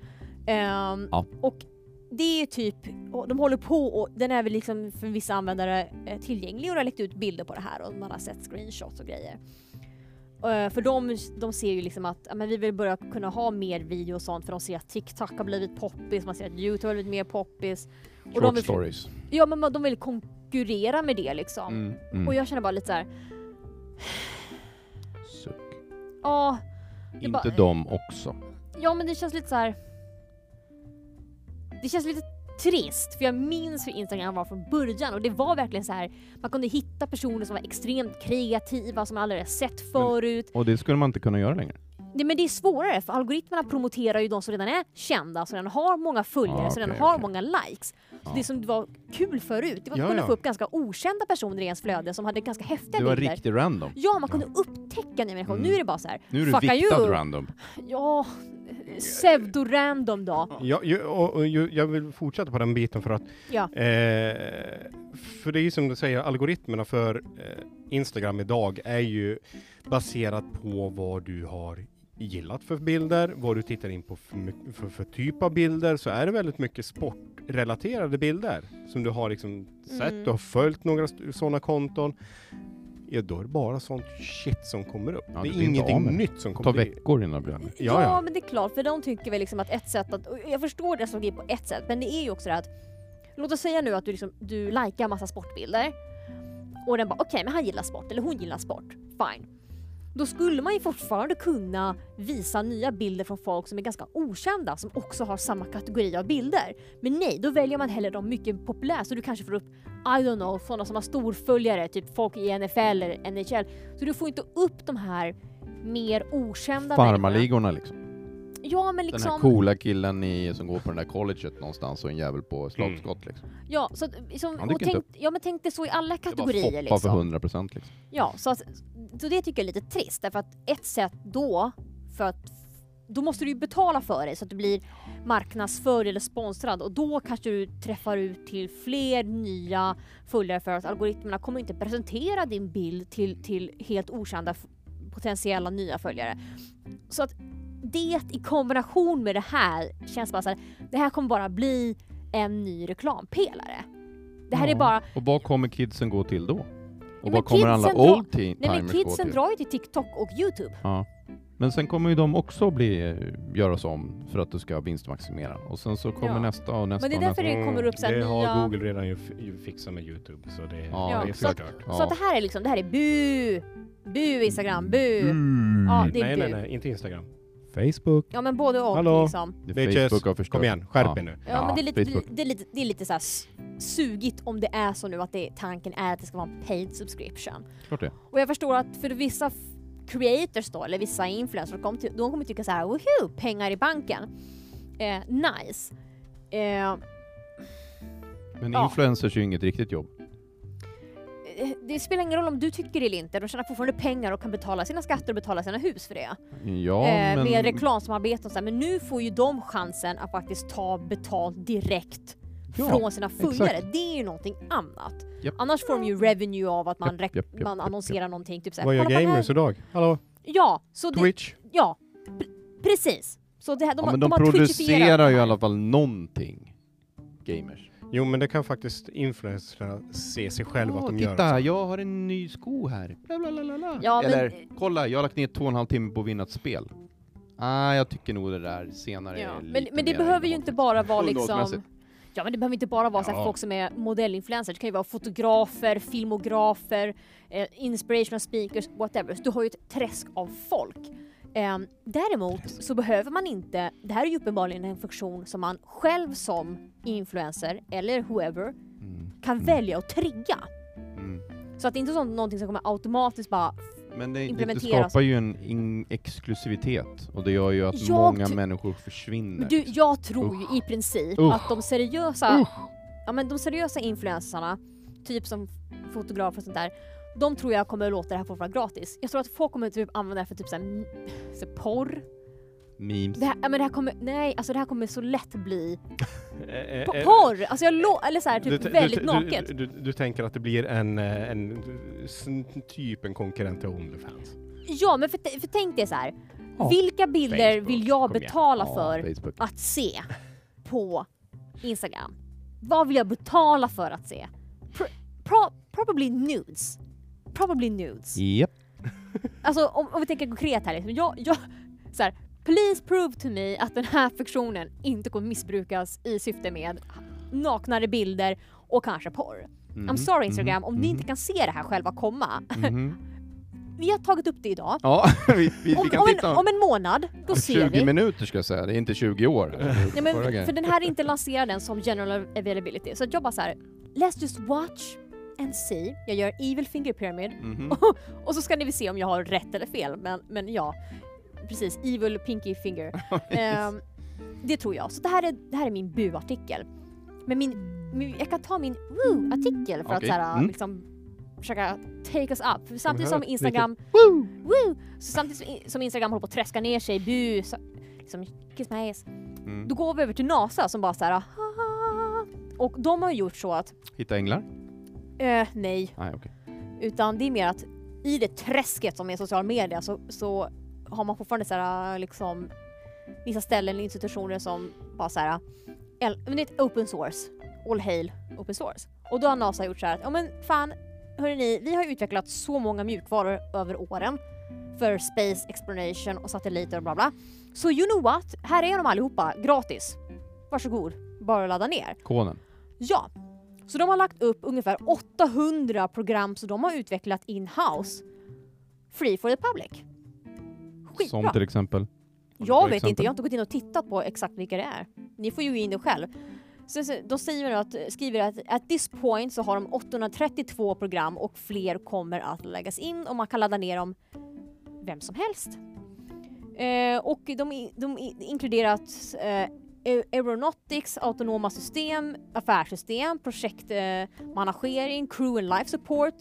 C: Ehm,
B: Ja.
C: Och det är typ, och de håller på och den är väl liksom för vissa användare eh, tillgänglig och det har läckt ut bilder på det här och man har sett screenshots och grejer. Eh, För de, de ser ju liksom att ja, men vi vill börja kunna ha mer video och sånt för de ser att TikTok har blivit poppis, man ser att YouTube har blivit mer poppis. Och de
B: Short
C: vill,
B: stories.
C: ja, men de vill konkurrera med det liksom.
B: Mm. Mm.
C: Och jag känner bara lite så här.
B: Suck.
C: Ja,
B: Inte
C: bara-
B: de också.
C: ja men det känns lite så här. Det känns lite trist för jag minns hur Instagram var från början och det var verkligen så här. man kunde hitta personer som var extremt kreativa som man aldrig hade sett förut.
B: Och det skulle man inte kunna göra längre.
C: Nej men det är svårare för algoritmerna promoterar ju de som redan är kända, som redan har många följare,
B: Ja,
C: som redan
B: Ah, okej,
C: har
B: okej. Ah.
C: många likes. Så
B: Ja.
C: det som var kul förut, det var att
A: Ja,
C: kunna
A: ja.
C: få upp ganska okända personer i ens flöde som hade ganska häftiga
B: Du var
C: bilder.
B: riktigt random.
C: Ja, man kunde upptäcka nya människor.
B: Mm.
C: Nu är det bara så här,
B: Nu är du
C: fucka
B: viktad
C: you.
B: random.
C: Ja, pseudo-random då.
A: Jag, jag, och, och, ju- jag vill fortsätta på den biten för att
C: Ja.
A: eh, för det är ju som du säger, algoritmerna för eh, Instagram idag är ju baserat på vad du har gillat för bilder, vad du tittar in på för, my- för, för typ av bilder, så är det väldigt mycket sportrelaterade bilder som du har liksom sett,
C: Mm.
A: du har följt några sådana konton. Ja, då är det bara sånt shit som kommer upp.
B: Ja,
A: det
B: du
A: är
B: blir inte av
A: ingenting
B: med det.
A: nytt som
B: Det tar
A: kommer upp.
B: veckor innan det blir annorlunda.
A: Ja, ja.
C: men det är klart, för de tycker väl liksom att ett sätt att, och jag förstår deras logik på ett sätt, men det är ju också det att, låt oss säga nu att du, liksom, du likar massa sportbilder och den bara okej men han gillar sport eller hon gillar sport, fine. Då skulle man ju fortfarande kunna visa nya bilder från folk som är ganska okända som också har samma kategori av bilder. Men nej, då väljer man hellre de mycket populära så du kanske får upp, I don't know, sådana som har storföljare, typ folk i NFL eller NHL. Så du får inte upp de här mer okända människorna.
B: Farmarligorna liksom.
C: Ja men
B: Den här
C: liksom,
B: coola killen i, som går på den där colleget någonstans och en jävel
C: Mm.
B: på slagskott liksom.
C: ja, så, att-
B: Han
C: liksom,
B: dyker
C: och
B: inte
C: tänk, ja men tänk det så i alla
B: Det bara
C: kategorier
B: foppar för
C: liksom.
B: 100% liksom.
C: Ja, så, att, så det tycker jag är lite trist därför att ett sätt då, för att då måste du ju betala för dig så att du blir marknadsförd eller sponsrad och då kanske du träffar ut till fler nya följare för att algoritmerna kommer inte presentera din bild till, till helt okända f- potentiella nya följare. Så att det i kombination med det här känns bara så här, det här kommer bara bli en ny reklampelare. Det här är bara
B: Och vad kommer kidsen gå till då? Och
C: men
B: vad kommer alla
C: kidsen drar-
B: old teen
C: Nej men
B: timers gå
C: kidsen
B: till?
C: drar ju till TikTok och YouTube.
B: Ja. Men sen kommer ju de också bli, göras om för att du ska vinstmaximera. Och sen så kommer
C: Ja.
B: nästa och nästa
C: Men det är
B: och
C: därför
B: nästa.
C: det kommer upp så här
A: Mm, Det har
C: nya-
A: Google redan ju f- ju fixat med Youtube, så det,
B: Ja,
A: det är
C: så att-
A: förstört.
C: Så att det här är liksom, det här är bu! Bu Instagram, bu!
B: Mm.
C: Ja, det är
A: Nej,
C: bu.
A: nej, nej, inte Instagram. Facebook.
C: Ja men både och
A: Hallå?
C: liksom.
B: Det
A: Bitches,
B: Facebook har förstört.
A: Kom igen, skärp
B: Ja.
A: er nu.
C: Ja,
B: Ja,
C: men det är lite,
B: Facebook.
C: det är lite, det är lite så här s- sugigt om det är så nu att det, tanken är att det ska vara en paid subscription.
B: Klart det.
C: Och jag förstår att för vissa f- creators då, eller vissa influencers, de, ty- de kommer tycka så här, woho, pengar i banken. Eh, nice. Eh,
B: Men
C: Ja.
B: influencers är ju inget riktigt jobb.
C: eh, det spelar ingen roll om du tycker det eller inte, de tjänar fortfarande pengar och kan betala sina skatter och betala sina hus för det.
B: Ja,
C: eh,
B: men...
C: med reklamsamarbete och så här. Men nu får ju de chansen att faktiskt ta betalt direkt
B: Ja,
C: från sina
B: exakt.
C: följare. Det är ju någonting annat.
B: Japp.
C: Annars får de ju revenue av att man,
B: Japp,
C: rek-
B: japp, japp,
C: man
B: japp,
C: annonserar någonting. Typ så här,
A: Vad gör
C: "Kolla på den här."
A: gamers idag? Hallå,
C: Ja, så det,
A: Twitch?
C: ja pr- precis. Så det här, de,
B: ja,
C: har-
B: men
C: de
B: de,
C: har twitchifierat det
B: producerar ju i
C: här.
B: alla fall någonting. Gamers.
A: Jo, men det kan faktiskt influencerna se sig själva att de gör.
B: titta,
A: också.
B: jag har en ny sko här. Bla, bla, bla, bla, bla.
C: Ja, men-
B: Eller, kolla, jag har lagt ner två och en halv timme på att vinna ett spel. Ah, jag tycker nog det där senare
C: Ja.
B: är lite
C: Men, men det
B: mer
C: behöver ju inte bara vara liksom...
B: Underhållsmässigt.
C: Ja men det behöver inte bara vara så här
B: Ja.
C: folk som är modellinfluencers, det kan ju vara fotografer, filmografer, eh, inspirational speakers, whatever. Så du har ju ett träsk av folk. Ehm, däremot så behöver man inte, det här är ju uppenbarligen en funktion som man själv som influencer eller whoever
B: Mm,
C: kan
B: Mm.
C: välja att trigga.
B: mm.
C: Så att det är inte sånt, någonting som kommer automatiskt bara
B: Men det, det, det
C: Implementeras.
B: skapar ju en in- exklusivitet och det gör ju att
C: Jag
B: många
C: ty-
B: människor försvinner.
C: Men du, jag tror ju i princip att de seriösa, ja, men de seriösa influencersarna, typ som fotografer och sånt där, de tror jag kommer låta det här få vara gratis. Jag tror att folk kommer typ använda det här för typ såhär, m- så här porr.
B: Memes.
C: Det här, ja, men det här kommer, nej alltså det här kommer så lätt bli
A: Eh, eh,
C: po-
A: eh,
C: porr! Alltså jag lo- eller såhär
A: du-
C: typ
A: du-
C: väldigt
A: du-
C: naket.
A: Du, du, du tänker att det blir en, eh, en sn- typ en konkurrent till Onlyfans?
C: Ja men för, t- för tänk dig så här.
B: Ja,
C: vilka bilder
A: Facebook,
C: vill jag
A: kom igen.
C: betala
B: Ja,
C: för
B: Facebook.
C: att se på Instagram? Vad vill jag betala för att se? Pro- pro- probably nudes. Probably nudes.
B: Japp.
C: Alltså om, om vi tänker konkret här liksom. Jag, jag, så här, please prove to me att den här funktionen inte kommer missbrukas i syfte med naknare bilder
B: Mm-hmm,
C: Mm, och kanske porr. I'm sorry Instagram, om ni inte kan se det här själva komma,
B: Mhm.
C: vi har tagit upp det idag.
B: mm-hmm, Ja, vi, vi,
C: Om,
B: vi kan
C: om,
B: titta
C: en, om en månad, då ser
B: 20
C: vi.
B: minuter ska jag säga, det är inte 20 år.
C: Nej,
B: Förra
C: men,
B: grejen.
C: för den här är inte lanserad än som general availability. Så att jag bara så här, let's just watch and see. Jag gör evil finger pyramid
B: Mhm.
C: och så ska ni väl se om jag har rätt eller fel. Men, men ja, precis. Evil pinky finger. Ehm, det tror jag. Så det här är, det här är min bu-artikel. Men min, min, jag kan ta min woo-artikel för att
B: Okej.
C: så här,
B: Mm.
C: liksom, försöka take us up. För samtidigt som
A: här-
C: Instagram... Woo! Så samtidigt som in- som Instagram håller på att träska ner sig, bu, så, liksom, kiss my ass.
B: Mm.
C: Då går vi över till NASA som bara så här... "Ah, ah, ah." Och de har gjort så att,
B: Hitta änglar?
C: eh, nej,
B: Nej, okej.
C: utan det är mer att i det träsket som är social media så, så har man fortfarande så här, liksom, vissa ställen eller institutioner som bara så här, el- men det är ett open source, all hail open source. Och då har NASA gjort så här att, ja men fan, hörrni, vi har utvecklat så många mjukvaror över åren för space exploration och satelliter och bla bla. Så you know what, här är de allihopa, gratis. Varsågod, bara ladda ner.
B: Koden.
C: Ja. Så de har lagt upp ungefär 800 program som de har utvecklat in-house. Free for the public.
B: Som
C: Skitbra.
B: till exempel?
C: Jag
B: till
C: vet inte,
B: exempel.
C: jag har inte gått in och tittat på exakt vilka det är. Ni får ju gå in det själv. Sen, så- de säger att, skriver att at this point så har de 832 program och fler kommer att läggas in och man kan ladda ner dem vem som helst. Eh, och de, i- de i- inkluderat eh, aer- aeronautics, autonoma system, affärssystem, projektmanagering, crew and life support,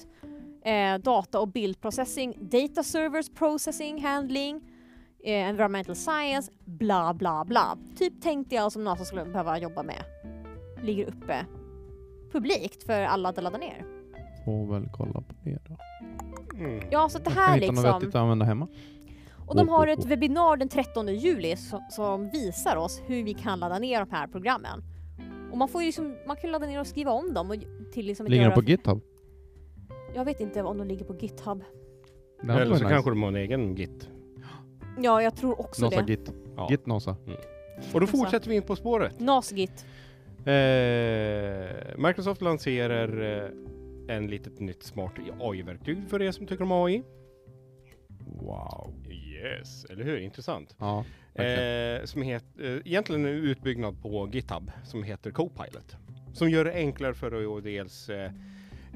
C: eh, data och bildprocessing, data servers processing, handling, eh, environmental science, bla bla bla. Typ tänkte jag som NASA skulle behöva jobba med. Ligger uppe publikt för alla att ladda ner.
B: Får väl kolla på det då.
A: Mm.
C: Ja, så att det
B: Kan
C: här
B: hitta något vettigt
C: liksom.
B: att använda hemma?
C: Och de har ett webbinar den 13 juli som, som visar oss hur vi kan ladda ner de här programmen. Och man får ju liksom, man kan ladda ner och skriva om dem och till liksom
B: Ligger den
C: göra,
B: på GitHub?
C: Jag vet inte om de ligger på GitHub.
B: Den
A: Eller så
B: var nice.
A: kanske de har en egen git.
C: Ja, jag tror också
B: Nasa
C: det.
B: Git.
A: Ja.
B: Git Nasa.
A: Och då
C: Alltså.
A: fortsätter vi in på spåret.
C: Nasgit.
A: Eh, Microsoft lanserar eh, en litet nytt smart AI-verktyg för er som tycker om AI.
B: Wow.
A: Yes, eller hur? Intressant.
B: Ja, verkligen.
A: Eh, som het, eh, egentligen en utbyggnad på GitHub som heter Copilot. Som gör det enklare för att dels eh,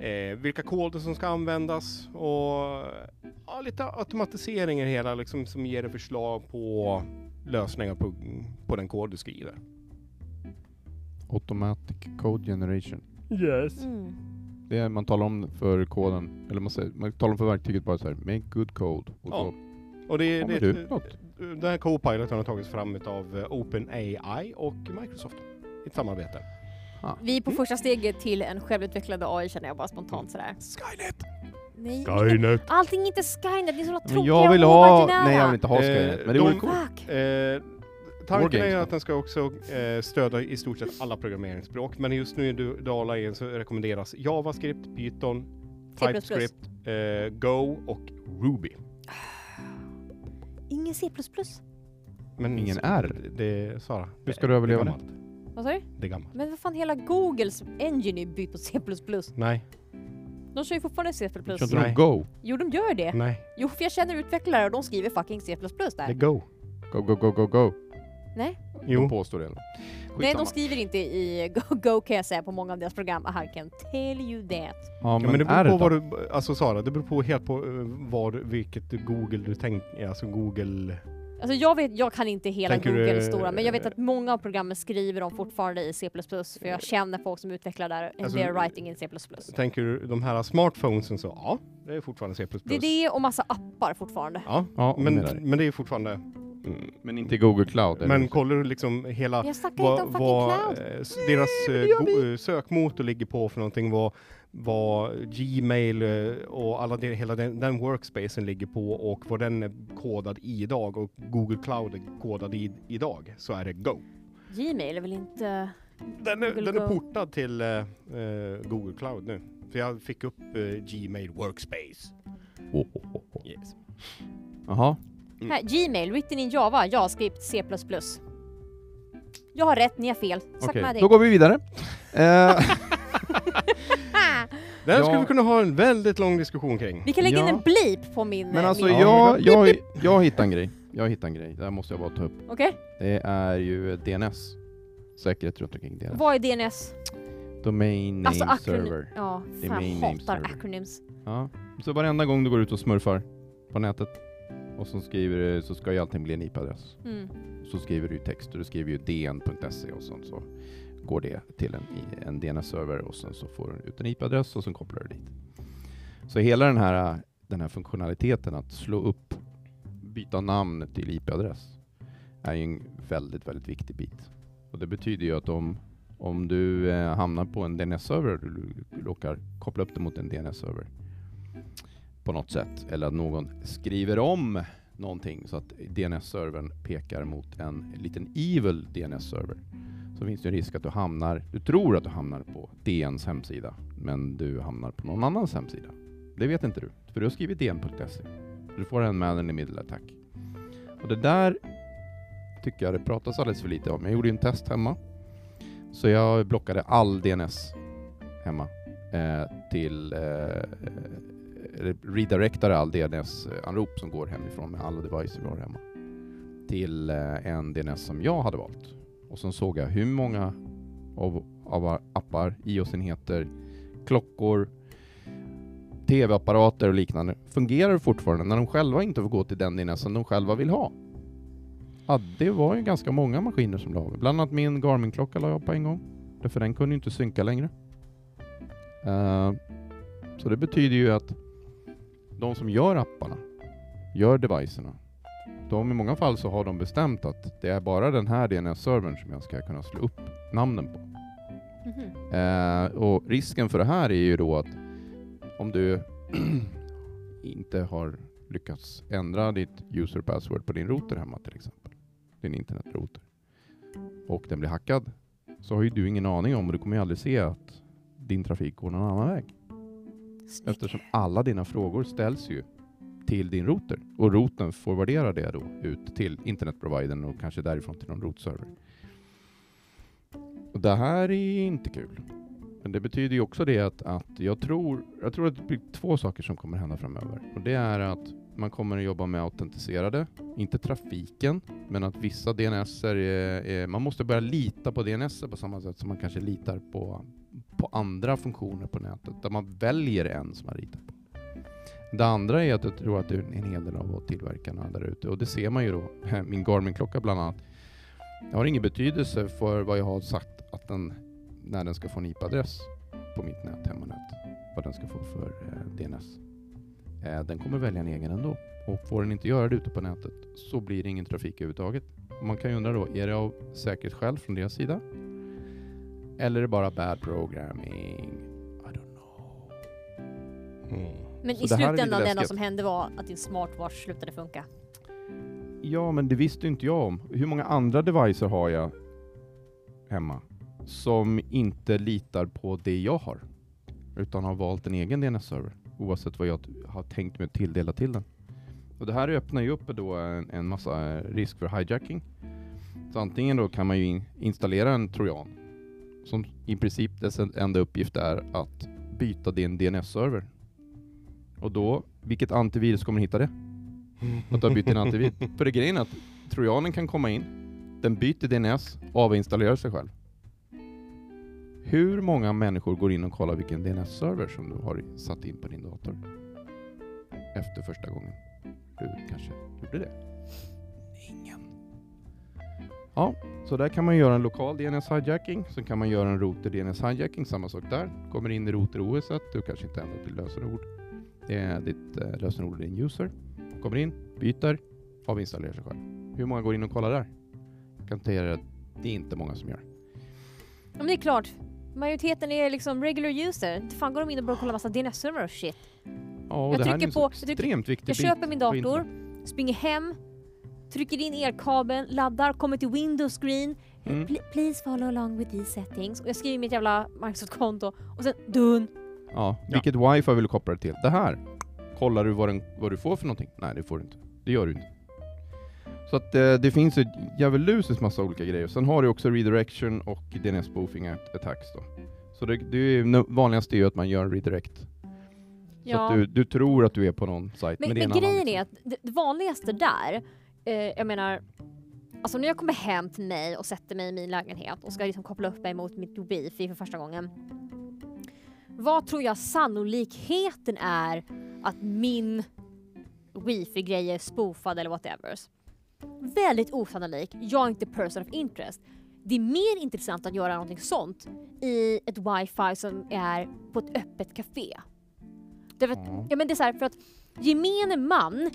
A: eh, vilka koder som ska användas och ja, lite automatisering i det hela liksom, som ger dig förslag på lösningar på, på den kod du skriver.
B: Automatic Code Generation.
A: Yes.
C: Mm.
B: Det är man talar om för koden, eller man, säger, man talar om för verktyget bara så här, make good code.
A: Ja.
B: Och så
A: Och det, är-
B: kommer
A: det,
B: det
A: är- eh,
B: ut något.
A: Den här Copiloten har tagits fram av OpenAI och Microsoft i ett samarbete.
C: Vi är
B: Mm.
C: på första steget till en självutvecklad AI känner jag bara spontant sådär.
A: Skynet!
C: Nej,
A: Skynet!
C: Allting är inte Skynet, ni är så
B: Men
C: tråkiga
B: jag vill
C: och
B: ha...
C: omarginära.
B: Nej jag vill inte ha
A: Eh,
B: Skynet, men
A: de-
B: det vore coolt.
C: Fuck!
A: Eh,
B: Wargames
A: tanken är ju
B: då?
A: att den ska också eh, stödja i stort sett alla programmeringsspråk, men just nu i du- Dala in så rekommenderas JavaScript, Python,
C: C++.
A: TypeScript, eh, Go och Ruby.
C: Ingen C++.
A: Men
B: Ingen
A: så-
B: R.
A: Det, det Sara.
B: Hur ska du överleva
A: det?
B: det?
A: är gammalt.
C: Vad sa du?
A: Det är gammalt.
C: Men vad fan, hela Googles engine är byggd på C++.
A: Nej,
C: De kör ju fortfarande C++.
B: Kör inte
A: Nej.
B: de Go?
C: Jo, de gör det.
A: nej,
C: Jo, för jag känner utvecklare och de skriver fucking C++
A: det är
C: där.
A: Go.
B: Go, go, go, go, go. De
A: Jo,
B: påstår det. i alla fall.
C: Nej, de
B: Skitsamma.
C: skriver inte i Go, Go kan jag säga på många av deras program. I can tell you that.
B: Ja,
A: ja,
B: men,
A: men det beror
B: är det
A: på
B: då?
A: vad du, alltså Sara, det beror på helt på eh, vad, vilket Google du tänker, alltså Google
C: Alltså jag vet, jag kan inte hela
A: Tänker
C: Google
A: du-
C: stora, men jag vet att många av programmen skriver de fortfarande i C++, för jag känner folk som utvecklar där, and
A: Alltså-
C: they're writing in C++.
A: Tänker du de här smartphonesen så, ja, det är fortfarande C++.
C: Det är det och massa appar fortfarande.
A: Ja,
B: Ja,
A: men,
B: men,
A: men det är fortfarande...
B: men inte i Google Cloud? eller?
A: Men kollar du liksom hela...
C: Jag snackar
A: Vad
C: inte om fucking
A: vad,
C: cloud.
A: eh, s- deras eh, go- eh, sökmotor ligger på för någonting, vad, vad Gmail eh, och alla det, hela den, den workspacen ligger på och vad den är kodad i idag och Google Cloud är kodad i idag så är det Go.
C: Gmail är väl inte...
B: Mm.
A: Den är,
C: Google
A: den är
C: Go.
A: portad till eh, eh, Google Cloud nu. För jag fick upp eh, Gmail Workspace.
B: Oh, oh, oh, oh.
A: Yes.
B: Jaha.
A: Mm.
C: Här, Gmail, written in Java, JavaScript, C++. Jag
B: Eh,
C: har rätt, ni har fel. Suck
B: Okej,
C: my dick.
B: då går vi vidare. Eh,
A: Den
B: Ja.
A: skulle vi kunna ha en väldigt lång diskussion kring.
C: Ah, Vi kan lägga in
B: Ja.
C: en blip på min...
B: Men
C: eh,
B: alltså
C: min...
B: jag, jag, jag hittade en grej. Jag hittade en grej. Det här måste jag bara ta upp.
C: Okej,
B: Det är ju DNS. Säkerhet runt omkring DNS.
C: vad är DNS?
B: Domain Name
C: alltså
B: Server.
C: Ja,
B: Det är
C: fan
B: main
C: jag
B: name
C: hatar
B: server.
C: acronyms.
B: Ja. Så varenda gång du går ut och smurfar på nätet och så skriver du, så ska ju allting bli en IP-adress.
C: Mm.
B: Så skriver du ju text och du skriver ju dn.se och sånt så går det till en, i- en DNS-server och sen så får du ut en IP-adress och sen kopplar du dit. Så hela den här, den här funktionaliteten att slå upp, byta namn till IP-adress är ju en väldigt, väldigt viktig bit. Och det betyder ju att om, om du eh, hamnar på en DNS-server, du, du råkar koppla upp det mot en DNS-server på något sätt, eller att någon skriver om någonting så att DNS-servern pekar mot en liten evil DNS-server så finns det en risk att du hamnar, du tror att du hamnar på DNs hemsida men du hamnar på någon annans hemsida. Det vet inte du, för du har skrivit dn.se. E. Du får en man in the middle attack. Och det där tycker jag det pratas alldeles för lite om. Jag gjorde ju en test hemma så jag blockade all DNS hemma eh, till eh, re- redirectar all DNS-anrop som går hemifrån med alla devices vi har hemma till eh, en DNS som jag hade valt. Och sen såg jag hur många av, av våra appar, iOS-enheter, klockor, tv-apparater och liknande fungerar fortfarande när de själva inte får gå till den DNS som de själva vill ha. Ja, det var ju ganska många maskiner som la av. Bland annat min Garmin-klocka la jag av på en gång. Därför den kunde ju inte synka längre. Eh, så det betyder ju att de som gör apparna, gör devicerna, de i många fall så har de bestämt att det är bara den här DNS-servern som jag ska kunna slå upp namnen på.
C: Mhm.
B: Eh, och risken för det här är ju då att om du inte har lyckats ändra ditt user password på din router hemma till exempel, din internetrouter, och den blir hackad, så har ju du ingen aning om och du kommer ju aldrig se att din trafik går någon annan väg.
C: Snyggt.
B: Eftersom alla dina frågor ställs ju till din router och routern får värdera det då ut till internetprovidern och kanske därifrån till någon rootserver. Och det här är inte kul. Men det betyder ju också det att, att jag, tror, jag tror att det blir två saker som kommer hända framöver. Och det är att man kommer att jobba med autentiserade, inte trafiken, men att vissa DNS är, är, man måste börja lita på DNS på samma sätt som man kanske litar på på andra funktioner på nätet där man väljer en som man ritar på. Det andra är att jag tror att det är en hel del av tillverkarna där ute och det ser man ju då, min Garmin-klocka bland annat. Det har ingen betydelse för vad jag har sagt att den, när den ska få en IP-adress på mitt nät, hemmanät, vad den ska få för eh, DNS. Eh, den kommer välja en egen ändå och får den inte göra det ute på nätet så blir det ingen trafik överhuvudtaget. Man kan ju undra då, är det av säkerhetsskäl från deras sida eller är det bara bad programming? I don't know.
A: Mm.
C: Men
B: Så
C: i
B: det här är lite
C: slutändan det enda
B: läskigt.
C: som hände var att din smartwatch slutade funka.
B: Ja, men det visste inte jag om. Hur många andra devices har jag hemma som inte litar på det jag har utan har valt en egen DNS-server oavsett vad jag t- har tänkt mig att tilldela till den. Och det här öppnar ju upp då en, en massa eh, risk för hijacking. Så antingen då kan man ju in, installera en trojan som i princip dess en- enda uppgift är att byta din DNS-server. Och då, vilket antivirus kommer hitta det? Mm. Att du har bytt din antivir. För det grejen är att trojanen kan komma in, den byter DNS och avinstallerar sig själv. Hur många människor går in och kollar vilken DNS-server som du har satt in på din dator? Efter första gången du kanske gjorde det. Ingen. Ja, så där kan man göra en lokal DNS-hijacking, sen kan man göra en router DNS-hijacking, samma sak där. Kommer in i router-OS, du kanske inte ändrar till lösenord. Det är ditt eh, lösenord och din user. Kommer in, byter, avinstallerar sig själv. Hur många går in och kollar där? Jag kan säga att det är inte många som gör.
C: Ja, men det är klart. Majoriteten är liksom regular user. Inte fan går de in och börjar kolla massa DNS-server och shit.
B: Ja, och
C: Jag
B: det här är
C: trycker
B: en
C: på-
B: så
C: jag trycker-
B: extremt viktig
C: Jag
B: bit
C: köper min
B: på
C: dator,
B: internet.
C: springer hem, trycker in elkabeln, laddar, kommer till Windows screen.
B: Mm.
C: Pl- please follow along with these settings. Och jag skriver mitt jävla Microsoft-konto och sen dun.
B: Ja, vilket wifi vill du koppla det till? Det här. Kollar du vad, den, vad du får för någonting? Nej, det får du inte. Det gör du inte. Så att eh, det finns ju djävulusiskt massa olika grejer. Sen har du också redirection och DNS spoofing att- attacks då. Så det, det är ju, no- vanligast är ju att man gör en redirect. Så
C: Ja.
B: att du, du tror att du är på någon sajt.
C: Men,
B: Men,
C: men,
B: det är en annan,
C: grejen
B: liksom.
C: är att det, det vanligaste där, eh, jag menar, alltså när jag kommer hem till mig och sätter mig i min lägenhet och ska liksom koppla upp mig mot mitt wifi för första gången. Vad tror jag sannolikheten är att min wifi-grej är spoofad eller whatever? Väldigt osannolik. Jag är inte person of interest. Det är mer intressant att göra någonting sånt i ett wifi som är på ett öppet café. Därför att,
B: Ja.
C: ja, men det är så här, för att gemene man,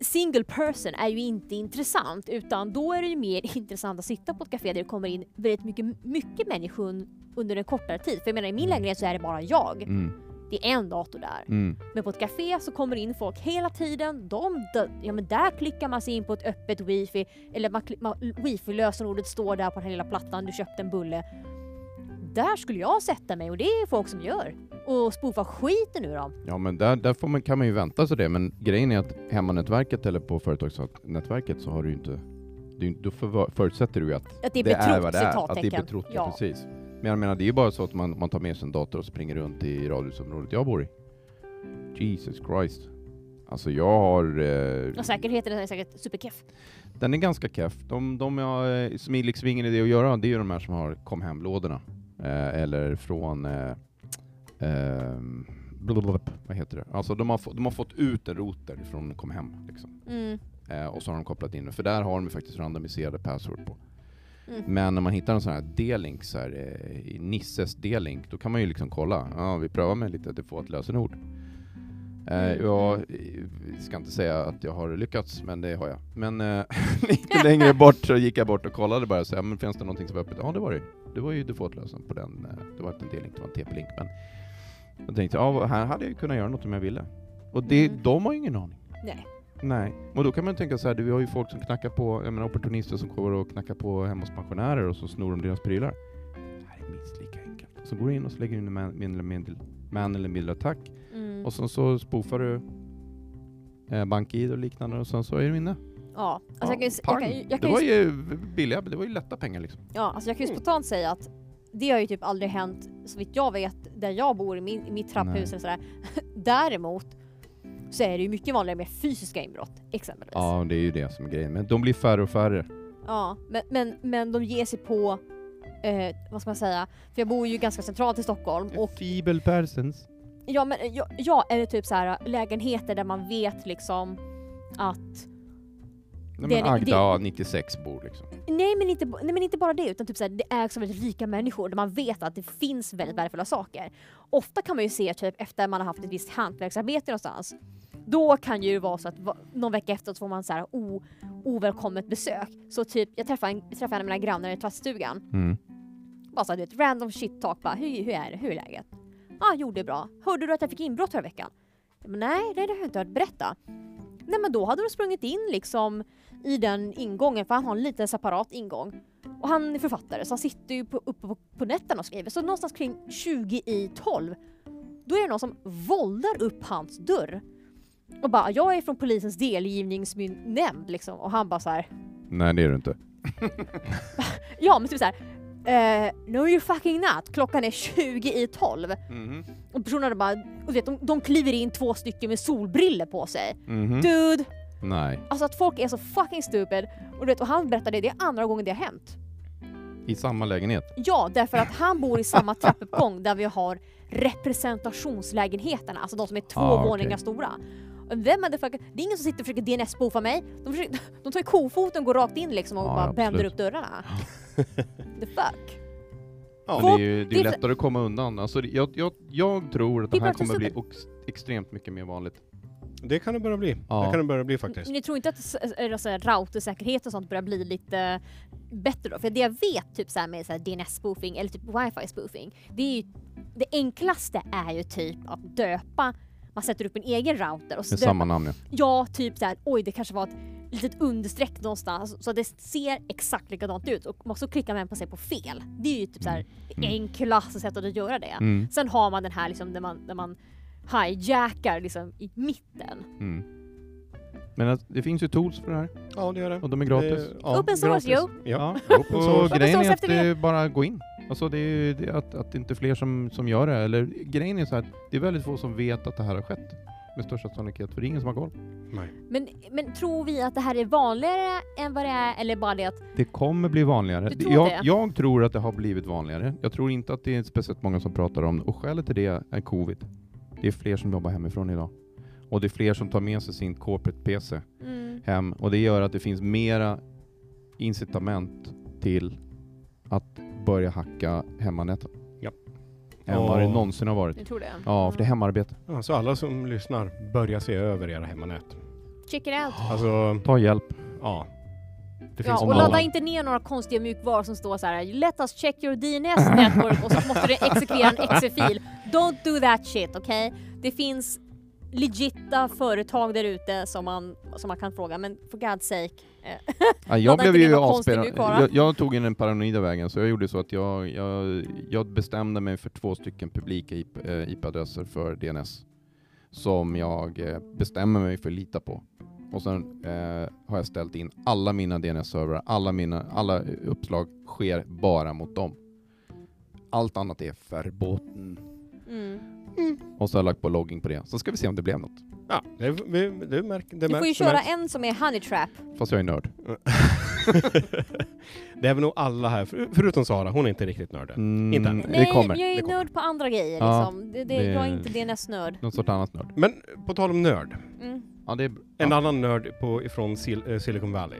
C: single person, är ju inte intressant utan då är det ju mer intressant att sitta på ett café där det kommer in väldigt mycket, mycket människor un- under en kortare tid. För jag menar i min lägenhet så är det bara jag.
B: Mm,
C: Det är en dator där.
B: mm,
C: Men på ett café så kommer det in folk hela tiden. De, dö- ja, men där klickar man sig in på ett öppet wifi. Eller man, kli- man, wifi-lösenordet står där på den här lilla plattan, du köpte en bulle. Där skulle jag sätta mig och det är folk som gör. Och spoofar skiten ur dem.
B: ja men där, där får man, kan man ju vänta sig det. Men grejen är att hemmanätverket eller på företagsnätverket så har du ju inte... Det, är ju- då förva- förutsätter du ju att
C: Att det är
B: det är
C: betrott,
B: vad det är, att det är
C: citattecken.
B: betrott, ja.
C: ja.
B: precis. Men jag menar, det är ju bara så att man, man tar med sig en dator och springer runt i radhusområdet jag bor i. Jesus Christ. Alltså jag har... Eh,
C: Och säkerheten är säkert superkeff.
B: den är ganska keff. De, de jag, eh, som är liksom ingen idé att göra, det är ju de här som har kom hem-lådorna. Eh, eller från... Eh, eh, blablabla, vad heter det? Alltså de har, få, de har fått ut en router från kom hem. Liksom.
C: Mm.
B: Eh, och så har de kopplat in den, för där har de ju faktiskt randomiserade password på.
C: Mm.
B: Men när man hittar en sån här D-link, så här, eh, i Nisses D-link, då kan man ju liksom kolla. Ja, vi prövar med lite default lösenord. Eh,
C: Mm.
B: jag eh, ska inte säga att jag har lyckats, men det har jag. Men eh, lite längre bort så gick jag bort och kollade bara så här, men finns det någonting som var öppet? Ja, det var det ju. Det var ju defaultlösen på den. eh, Det var inte en D-link, det var en TP-link. Men jag tänkte, ja, här hade jag ju kunnat göra något om jag ville. Och det,
C: Mm.
B: de har ju ingen aning.
C: Nej.
B: Nej, och då kan man tänka så här, vi har ju folk som knackar på, jag menar opportunister som kommer och knackar på hemma hos pensionärer och så snor de deras prylar. Det här är minst lika enkelt. Så går du in och så lägger du in en man, man, eller mindre- man eller middelattack
C: Mm.
B: och sen så spoofar du eh, BankID och liknande och sen så är du inne.
C: Ja, alltså jag kan ju, s-
B: pang.
C: jag kan, ju-
B: det
C: jag kan
B: var
C: ju, s-
B: ju billiga, det var ju lätta pengar liksom.
C: ja, alltså jag kan ju
A: Mm.
C: spontant säga att det har ju typ aldrig hänt så vitt jag vet där jag bor i, min, i mitt trapphus
B: Nej.
C: eller sådär. Däremot så är det ju mycket vanligare med fysiska inbrott exempelvis.
B: Ja, det är ju det som är grejen. Men de blir färre och färre.
C: Ja, men, men, men de ger sig på, eh, vad ska man säga, för jag bor ju ganska centralt i Stockholm
B: Mm.
C: och
B: Feeble persons.
C: Ja men eh, ja, ja, eller typ så här lägenheter där man vet liksom att
B: Nej,
C: Det
B: men
C: är- det-
B: Agda, 96 bor liksom.
C: Nej men inte, nej, men inte bara det utan typ så här, det ägs av väldigt rika människor där man vet att det finns väldigt värdefulla saker. Ofta kan man ju se typ efter man har haft ett visst hantverksarbete någonstans. Då kan ju det vara så att va- någon vecka efter så får man så här o, ovälkommet besök. Så typ jag träffade en, jag träffade en av mina grannar i trattstugan
B: Mm.
C: Bara så här, du vet, random shit talk bara, hur, hur är det, hur är läget? ah, jo det är bra. Hörde du att jag fick inbrott förra veckan? Men nej, nej det har jag inte hört, berätta. Nej men då hade de sprungit in liksom i den ingången, för han har en liten separat ingång. Och han är författare så han sitter ju på, uppe på, på nätterna och skriver. Så någonstans kring 20 i 12, då är det någon som våldar upp hans dörr. Och bara, jag är från polisens delgivningsnämnd liksom. Och han bara så här,
B: Nej, det är du inte.
C: ja men typ så här. eh, no you're fucking not, klockan är 20 i 12.
B: Mhm.
C: Och personerna bara, och vet, de, de kliver in två stycken med solbriller på sig.
B: Mhm.
C: Dude!
B: Nej.
C: Alltså att folk är så fucking stupid. Och, du vet, och han berättade det, det är andra gången det har hänt.
B: I samma lägenhet?
C: Ja, därför att han bor i samma trappuppgång där vi har representationslägenheterna, alltså de som är två
B: Ah, okej.
C: våningar stora. Och Vem hade fucking, det är ingen som sitter och försöker DNS-boofa mig. De, försöker, de tar ju kofoten och går rakt in liksom och
B: Ja,
C: bara
B: absolut.
C: bänder upp dörrarna. The fuck?
A: Ja.
B: Men det är ju det är ju
C: det-
B: lättare att komma undan. Alltså, det- jag, jag, jag tror att det
C: Det är
B: här
C: bara
B: kommer
C: att
B: bli
C: det
B: ox- extremt mycket mer vanligt.
A: Det kan det börja bli.
B: Ja.
A: Det kan det börja bli faktiskt.
C: Ni tror inte att s- eller så här, routersäkerhet och sånt börjar bli lite bättre då? För det jag vet typ så här med så här DNS-spoofing eller typ wifi-spoofing, det är ju det enklaste är ju typ att döpa, man sätter upp en egen router och så
B: Med
C: döper
B: samma namn ja.
C: Ja, typ så här, oj det kanske var ett litet understreck någonstans så att det ser exakt likadant ut och man så klickar man på sig på fel. Det är ju typ så här
B: Mm.
C: enklaste sättet att göra det.
B: Mm.
C: Sen har man den här liksom där man, där man hijackar liksom i mitten.
B: Mm. Men att, det finns ju tools för det här
A: Ja, det gör det.
B: och de är gratis.
A: Det- ja,
C: Open source,
A: gratis. Ja.
B: Ja, och
A: source.
B: grejen är att
C: efter
B: det är bara att gå in. Alltså det är ju det att, att det inte är fler som, som gör det. Eller grejen är så här att det är väldigt få som vet att det här har skett. Med största sannolikhet, för det är ingen som har koll.
A: Nej.
C: Men, men tror vi att det här är vanligare än vad det är, eller bara det att
B: Det kommer bli vanligare.
C: Du tror
B: jag,
C: det?
B: jag tror att det har blivit vanligare. Jag tror inte att det är speciellt många som pratar om det. Och skälet till det är covid. Det är fler som jobbar hemifrån idag. Och det är fler som tar med sig sin corporate PC
C: mm,
B: hem. Och det gör att det finns mera incitament till att börja hacka hemmanätet.
A: Japp.
B: Än vad det
A: Åh.
B: någonsin har varit.
C: du tror det?
B: Ja, för det är hemarbete.
A: Ja, så alla som lyssnar, börja se över era hemmanät.
C: Check it out.
B: Ah.
A: Alltså,
B: Ta hjälp.
A: ja. Det
C: Ja, och
B: många.
C: ladda inte ner några konstiga mjukvaror som står så här “Let us check your DNS network” och så måste du exekvera en exe-fil. Don't do that shit, okej? Det finns legitta företag där ute som man, som man kan fråga, men for God's sake.
B: Ja, jag
C: Hade inte
B: blev ju
C: det någon konstig
B: avspelad.
C: mjukvara?
B: Jag, jag tog in den paranoida vägen, så jag gjorde så att jag, jag, jag bestämde mig för två stycken publika IP, eh, IP-adresser för DNS som jag eh, bestämmer mig för att lita på. Och sen eh, har jag ställt in alla mina DNS-servrar, alla, mina, alla uppslag sker bara mot dem. Allt annat är förboten.
C: Mm.
B: Och så har jag lagt på logging på det. Så ska vi se om det blev något.
A: Ja, det, vi, det märker det
C: Du får ju
A: märks, det
C: köra
A: märks.
C: en som är honey trap.
B: Fast jag är nörd.
A: det är väl nog alla här, för, förutom Sara, hon är inte riktigt nörd än.
B: Mm,
A: Inte än.
B: det kommer.
C: Nej, jag
A: det
C: är
A: kommer.
C: nörd på andra grejer
B: Ja,
C: liksom. Det, det,
B: det-
C: Jag är inte DNS-nörd.
B: Något sorts annat nörd.
A: Men på tal om nörd,
C: Mm.
B: Ja, det är,
A: en
B: ja.
A: annan nörd på, ifrån Sil eh, Silicon Valley.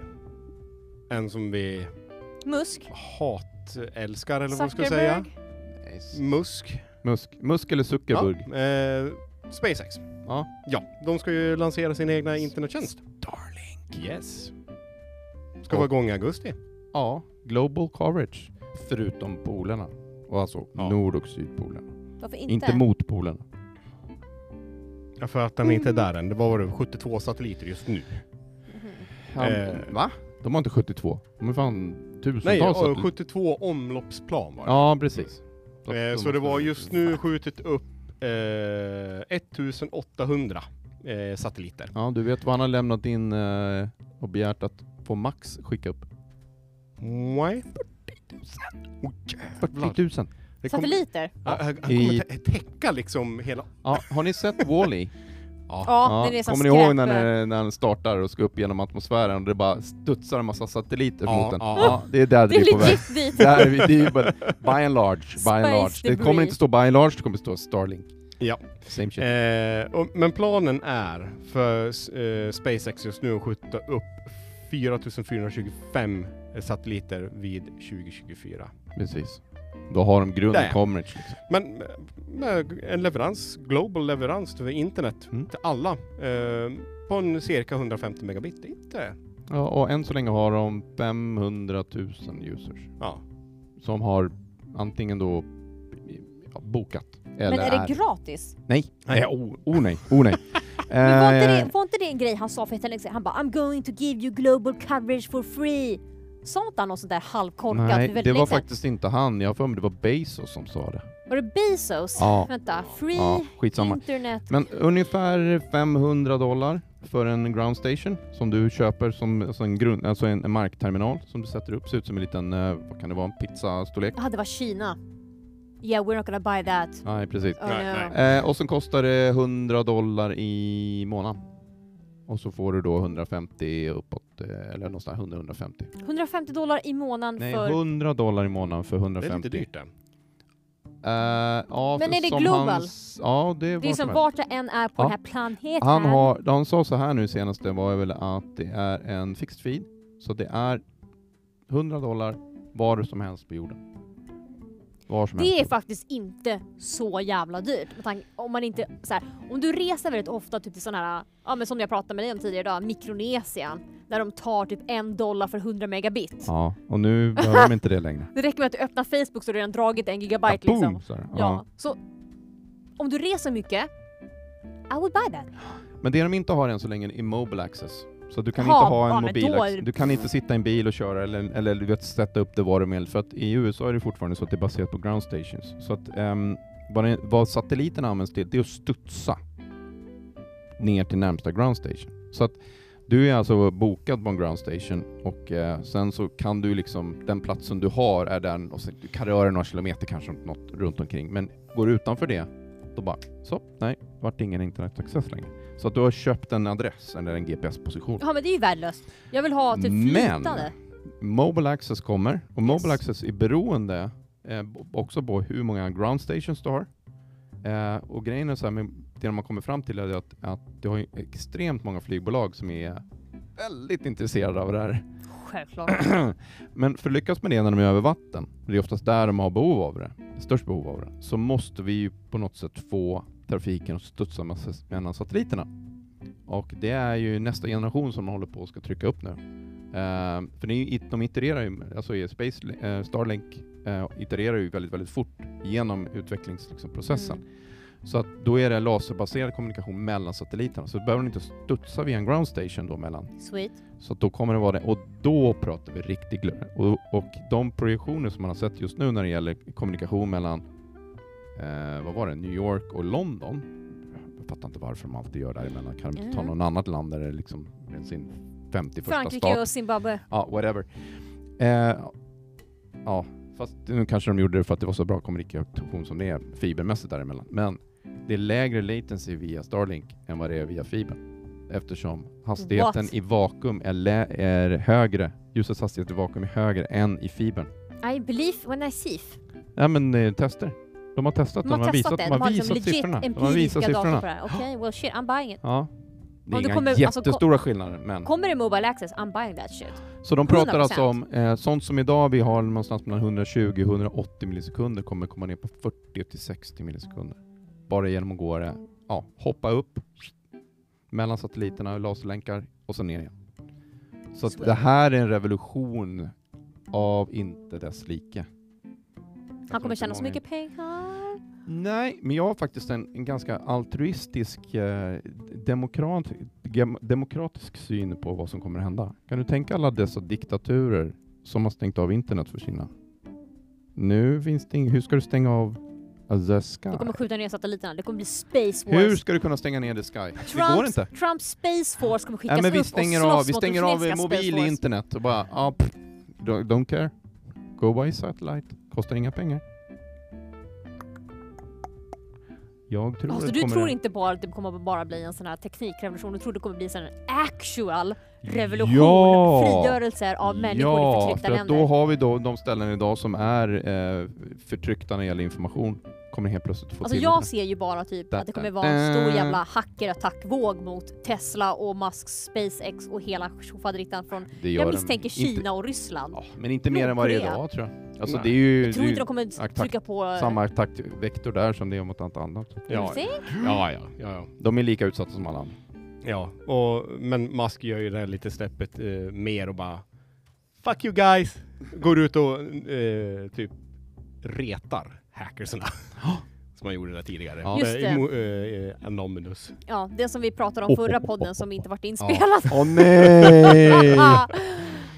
A: En som vi
C: Musk.
A: hatälskar eller vad man ska säga.
C: Zuckerberg.
B: Nice.
A: Musk.
B: Musk, Musk eller Zuckerberg?
A: Ja, eh, SpaceX.
B: Ja.
A: Ja, de ska ju lansera sin egna internettjänst. Starlink. Yes. Ska vara igång i augusti.
B: Ja, global coverage. Förutom polerna. Och alltså
A: Ja.
B: nord och sydpolerna.
C: Varför inte?
B: Inte, mot polerna.
A: Ja, för att den inte är där än. Det var vad det var, 72 satelliter just nu.
C: Mhm.
B: Han,
A: Eh.
B: Va? De har inte 72. De är fan tusentals.
A: Nej, ja,
B: satellit-
A: 72 omloppsplan var det.
B: Ja, precis. att
A: eh,
B: de
A: så det
B: måste-
A: var just nu skjutit upp eh, 1800 eh, satelliter.
B: Ja, du vet vad han har lämnat in eh, och begärt att få max skicka upp?
A: Nej.
B: 40 000.
A: Det kom-
C: Satelliter?
A: Ja, Han han
B: I-
A: kommer tä- täcka liksom hela...
B: Ja, har ni sett Wall-E?
C: Ja, den är som
B: Kommer ni ihåg när,
C: skräp. eh.
B: den- när den startar och ska upp genom atmosfären och det bara studsar en massa satelliter
A: Ja,
B: mot den?
A: ja.
B: det är där
C: Det är
B: vi är på väg.
C: legit dit.
B: Det här är, det är ju bara, by and large, by and
C: Space
B: large. Det kommer
C: debris.
B: inte stå by and large, det kommer stå Starlink.
A: Ja.
B: Same shit.
A: Eh, och, men planen är för s- eh, SpaceX just nu att skjuta upp 4425 eh, satelliter vid 2024.
B: Precis. Då har de grunden
A: Där.
B: coverage. Liksom.
A: Men med- med en leverans, global leverans till internet
B: Mm.
A: till alla eh, på en cirka 150 megabit. Det är inte...
B: Ja, och än så länge har de 500 000 users
A: Ja.
B: som har antingen då ja, bokat eller
C: Men är det gratis?
B: Nej,
A: Nej.
B: nej, oh, oh nej, oh nej.
C: Men var inte,
B: Eh,
C: det, var inte det en grej han sa för ett tag sedan? Han bara “I'm going to give you global coverage for free”. Sa inte han något sånt där halvkorkat för
B: nej,
C: väldigt
B: det var
C: länge sedan?
B: faktiskt inte han. Jag har för mig det var Bezos som sa det.
C: Var det Bezos?
B: Ja.
C: Vänta, free
B: Ja, skitsamma.
C: internet.
B: Men ungefär 500 dollar för en ground station som du köper som alltså en, grund, alltså en, en markterminal som du sätter upp. Ser ut som en liten, eh, vad kan det vara, en pizzastorlek?
C: Ja, det var Kina. Yeah, we're not gonna buy that.
B: Nej, precis.
C: Oh,
A: Nej,
C: no.
A: nej.
B: Eh, och sen kostar det 100 dollar i månaden. Och så får du då 150 uppåt, eh, eller någonstans 100-150.
C: 150 dollar i månaden
B: Nej,
C: för...
B: 100 dollar i månaden för
A: Det
B: 150.
A: är lite dyrt det.
B: Eh, ja,
C: Men
B: för-
C: är det
B: som
C: global?
B: Hans, ja, det är
C: Det är
B: vad som
C: som
B: helst.
C: vart det än är på
B: Ja.
C: den här planeten.
B: Han, har, han sa så här nu senast, det var väl att det är en fixed feed, så det är 100 dollar var som helst på jorden. Var som helst.
C: Det är
B: på jorden.
C: faktiskt inte så jävla dyrt. Med tanke- Om, man inte, så här, om du reser väldigt ofta typ till sådana här, ja, men som jag pratade med dig om tidigare idag, Mikronesien. Där de tar typ en dollar för 100 megabit.
B: Ja, och nu behöver de inte det längre.
C: Det räcker med att du öppnar Facebook så har du redan dragit en gigabyte liksom.
B: Kaboom, så här.
C: Ja.
B: ja.
C: Så om du reser mycket, I would buy that.
B: Men det de inte har än så länge är mobile access. Så du kan
C: Jaha,
B: inte ha
C: ja,
B: en
C: men
B: mobil
C: då är
B: access.
C: det-
B: Du kan inte sitta i en bil och köra eller, eller du vet, sätta upp det var du vill. För att i USA är det fortfarande så att det är baserat på ground stations. Så att ehm, vad, det, vad satelliten används till, det är att studsa ner till närmsta ground station. Så att Du är alltså bokad på en ground station och eh, sen så kan du liksom, den platsen du har är den och sen, du kan röra några kilometer kanske om något runt omkring. Men går du utanför det, då bara så, nej, vart ingen internet access längre. Så att du har köpt en adress eller en GPS-position.
C: Ja men det är ju värdelöst. Jag vill ha typ
B: Men-
C: flytande.
B: Mobile Access kommer och Mobile
C: Yes.
B: Access är beroende eh, b- också på hur många ground stations du har. Eh, och grejen är så här, men det man kommer fram till är att, att du har ju extremt många flygbolag som är väldigt intresserade av det här.
C: Självklart.
B: Men för att lyckas med det när de är över vatten, det är oftast där de har behov av det, störst behov av det, så måste vi ju på något sätt få trafiken att studsa med- mellan satelliterna. Och det är ju nästa generation som håller på och ska trycka upp nu. Eh, för det är ju, de itererar ju, alltså i Space, eh, Starlink eh, itererar ju väldigt, väldigt fort genom utvecklingsprocessen. Liksom, processen.
C: Mm.
B: Så att då är det laserbaserad kommunikation mellan satelliterna, så behöver man inte studsa via en ground station då mellan
C: Mm. Sweet.
B: så att då kommer det vara det. Och då pratar vi riktigt glöd. Och, och de projektioner som man har sett just nu när det gäller kommunikation mellan, eh, vad var det, New York och London. Jag fattar inte varför de alltid gör det däremellan. Kan de inte ta
C: Mm.
B: någon annat land där det liksom är sin 51 stat?
C: Frankrike och Zimbabwe.
B: Ja, whatever. Eh, ja, fast nu kanske de gjorde det för att det var så bra kommunikation som det är fibermässigt däremellan. Men det är lägre latency via Starlink än vad det är via fiber. Eftersom hastigheten
C: What?
B: i vakuum är, lä- är högre, ljusets hastighet i vakuum är högre än i fibern.
C: I believe when I see.
B: Nej men eh, tester. De har testat
C: De
B: och
C: har, testat
B: visat,
C: det.
B: de har visat
C: liksom legit
B: siffrorna. De har
C: empiriska
B: visat
C: data
B: siffrorna.
C: på det här. Okej, well shit, I'm buying it.
B: Ja. Det
C: Om
B: är
C: det
B: inga
C: kommer- alltså, ko-
B: jättestora skillnader men...
C: Kommer det Mobile Access, I'm buying that shit.
B: Så de pratar
C: 100%.
B: alltså om eh, sånt som idag vi har någonstans mellan 120 och 180 millisekunder kommer komma ner på 40 till 60 millisekunder. Bara genom att gå det, ja, hoppa upp mellan satelliterna och laserlänkar och sen ner igen. Så att det här är en revolution av inte dess like.
C: Han kommer
B: inte
C: tjäna så
B: många-
C: mycket pengar.
B: Nej, men jag har faktiskt en, en ganska altruistisk eh, demokrat, gem, demokratisk syn på vad som kommer att hända. Kan du tänka alla dessa diktaturer som har stängt av internet för Kina? Nu finns det ing- Hur ska du stänga av the sky?
C: De kommer skjuta ner satelliterna. Det kommer bli Space Wars.
B: Hur ska du kunna stänga ner the sky? det går inte.
C: Trumps Space Force kommer skickas
B: Nej, men vi
C: upp
B: stänger
C: och slåss
B: av, vi
C: mot den
B: stänger av eh,
C: kinesiska Space
B: mobil
C: Force.
B: internet och bara, ah, pff, don't, don't care. Go by satellite. Kostar inga pengar. Jag tror
C: Ja, så
B: att
C: Alltså, du
B: kommer
C: tror
B: en-
C: inte bara att det kommer bara bli en sån här teknikrevolution, du tror det kommer bli en sån här actual revolution,
B: Ja!
C: frigörelser av människor i
B: ja,
C: förtryckta
B: för att
C: länder.
B: då har vi då de ställen idag som är eh, förtryckta när det gäller information. Kommer helt plötsligt få
C: Alltså
B: till
C: jag ser ju bara typ att det kommer vara en stor jävla hackerattackvåg mot Tesla och Musks SpaceX och hela tjofaderittan från,
B: det gör
C: jag
B: de
C: misstänker
B: inte-
C: Kina och Ryssland.
B: Ja, men inte mer än vad det är
C: Nordkorea.
B: idag tror jag. Alltså
A: Nej.
B: det är ju,
C: Jag tror
B: det är
C: inte
B: ju
C: de kommer
B: attack-
C: trycka på... eh,
B: samma taktvektor där som det är mot allt annat.
C: Ja.
A: Ja, ja, ja, ja,
B: De är lika utsatta som alla andra.
A: ja. ja. Och, men Musk gör ju det här lite snäppet eh, mer och bara Fuck you guys! Går ut och eh, typ retar hackersarna. som man gjorde där tidigare.
B: Ja.
C: Just
A: Eh,
C: det.
A: emo- eh, eh, Anonymous.
C: Ja, det som vi pratade om förra podden som inte varit inspelad.
B: Åh nej!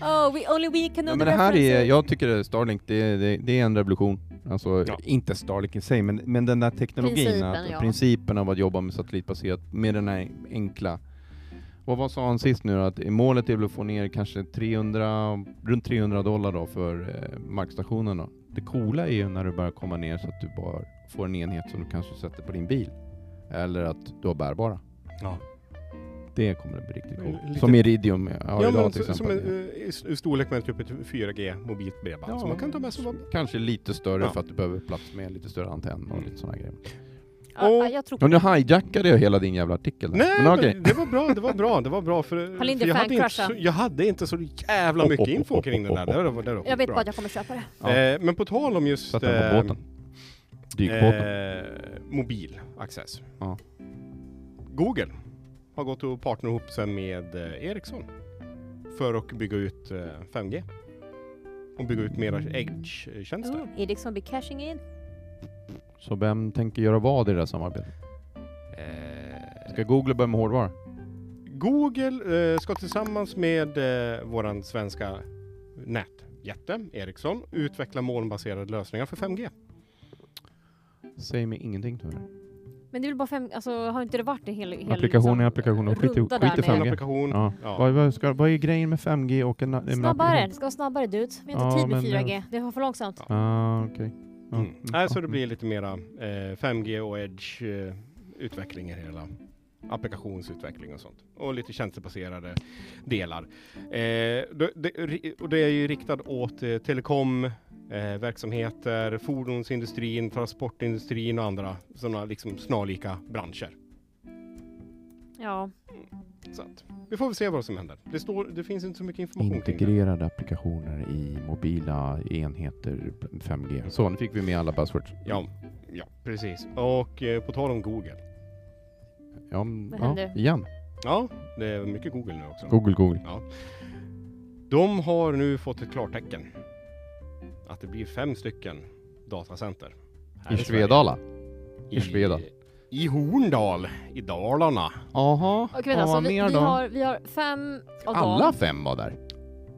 C: oh, we, only we can know
B: Ja,
C: the
B: men det här är,
C: references.
B: jag tycker det är Starlink, det, är- det, det är en revolution. Alltså,
A: Ja.
B: inte Starlink i sig, men, men den där teknologin,
C: Principen,
B: att,
C: ja.
B: principen av att jobba med satellitbaserat, med den här enkla... Vad var sa han sist nu då? Att målet är väl att få ner kanske 300, runt 300 dollar då för eh, markstationen då. Det coola är ju när du börjar komma ner så att du bara får en enhet som du kanske sätter på din bil. Eller att du har bärbara.
A: Ja.
B: Det kommer att bli riktigt coolt.
A: Lite-
B: Som Iridium har
A: ja,
B: idag
A: men
B: till
A: så,
B: exempel.
A: som en, eh, i s- i storlek med typ ett 4G mobilt bredband som man kan ta med sig.
B: Kanske lite större
A: Ja.
B: för att du behöver plats med lite större antenn och
A: Mm.
B: lite sådana grejer.
C: Ja,
A: och-
C: ja, jag tror på
B: Och
C: det.
B: nu hijackade jag hela din jävla artikel. där.
A: Nej,
B: men
A: men
B: okej.
A: det var bra, det var bra, det var bra för,
C: Har Lindy
A: för jag, hade inte
C: fan-crushat?
A: så, jag hade inte så
B: Oh,
A: jävla mycket info kring den där. Det var, det var
C: Jag vet
A: bra.
C: bara att jag kommer köpa det.
B: Ja.
A: Eh, men på tal om just
B: Sätt den på
A: eh,
B: båten. Dygbåten.
A: eh, mobil access.
B: Ja.
A: Google har gått och partnerat ihop sig med eh, Ericsson för att bygga ut eh, 5G. Och bygga ut mera edge-tjänster.
C: Oh, Ericsson blir cashing in.
B: Så vem tänker göra vad i det här samarbetet?
A: Eh,
B: Ska Google börja med hårdvara?
A: Google eh, ska tillsammans med eh, våran svenska nätjätte Ericsson utveckla molnbaserade lösningar för 5G. Mm.
B: Säg mig ingenting tyvärr.
C: Men det är väl bara fem, alltså har inte det varit en hel... hel
D: Applikation är applikation och skit i-
C: runda
D: skit i
C: där
D: fem
A: En
C: med-
D: 5G.
A: applikation.
D: Ja.
A: Ja.
D: Vad, vad, ska, vad är grejen med 5G och en, en
C: Snabbare,
D: applikation?
C: det ska vara snabbare dudes. Vi har
D: Ja,
C: inte tid med
D: men-
C: 4G, det var för långsamt.
A: Ja.
D: Ah, okej. Ja.
A: Mm. Nej, så det
D: Mm.
A: blir lite mera eh, 5G och Edge eh, utveckling i det hela. Applikationsutveckling och sånt. Och lite tjänstebaserade delar. Eh, det, det, ri- och det är ju riktat åt eh, telekom, eh, verksamheter, fordonsindustrin, transportindustrin och andra sådana liksom snarlika branscher.
C: Ja.
A: Så att, vi får väl se vad som händer. Det, står, det finns inte så mycket information kring det.
B: Integrerade applikationer i mobila enheter 5G. Så, nu fick vi med alla buzzwords.
A: Ja, ja, precis. Och eh, på tal om Google.
B: Ja, m-
C: Vad
B: ja,
C: händer?
B: igen.
A: Ja, det är mycket Google nu också.
B: Google, Google.
A: De har nu fått ett klartecken att det blir fem stycken datacenter. här
B: I
A: Sverige.
B: Svedala.
A: I
B: Svedala.
A: I Horndal, i Dalarna.
B: Jaha, vad
C: Okej vänta, så
B: var
C: alltså, vi,
B: mer
C: vi,
B: då?
C: har, vi har fem av
B: Alla
C: dem.
B: fem var där.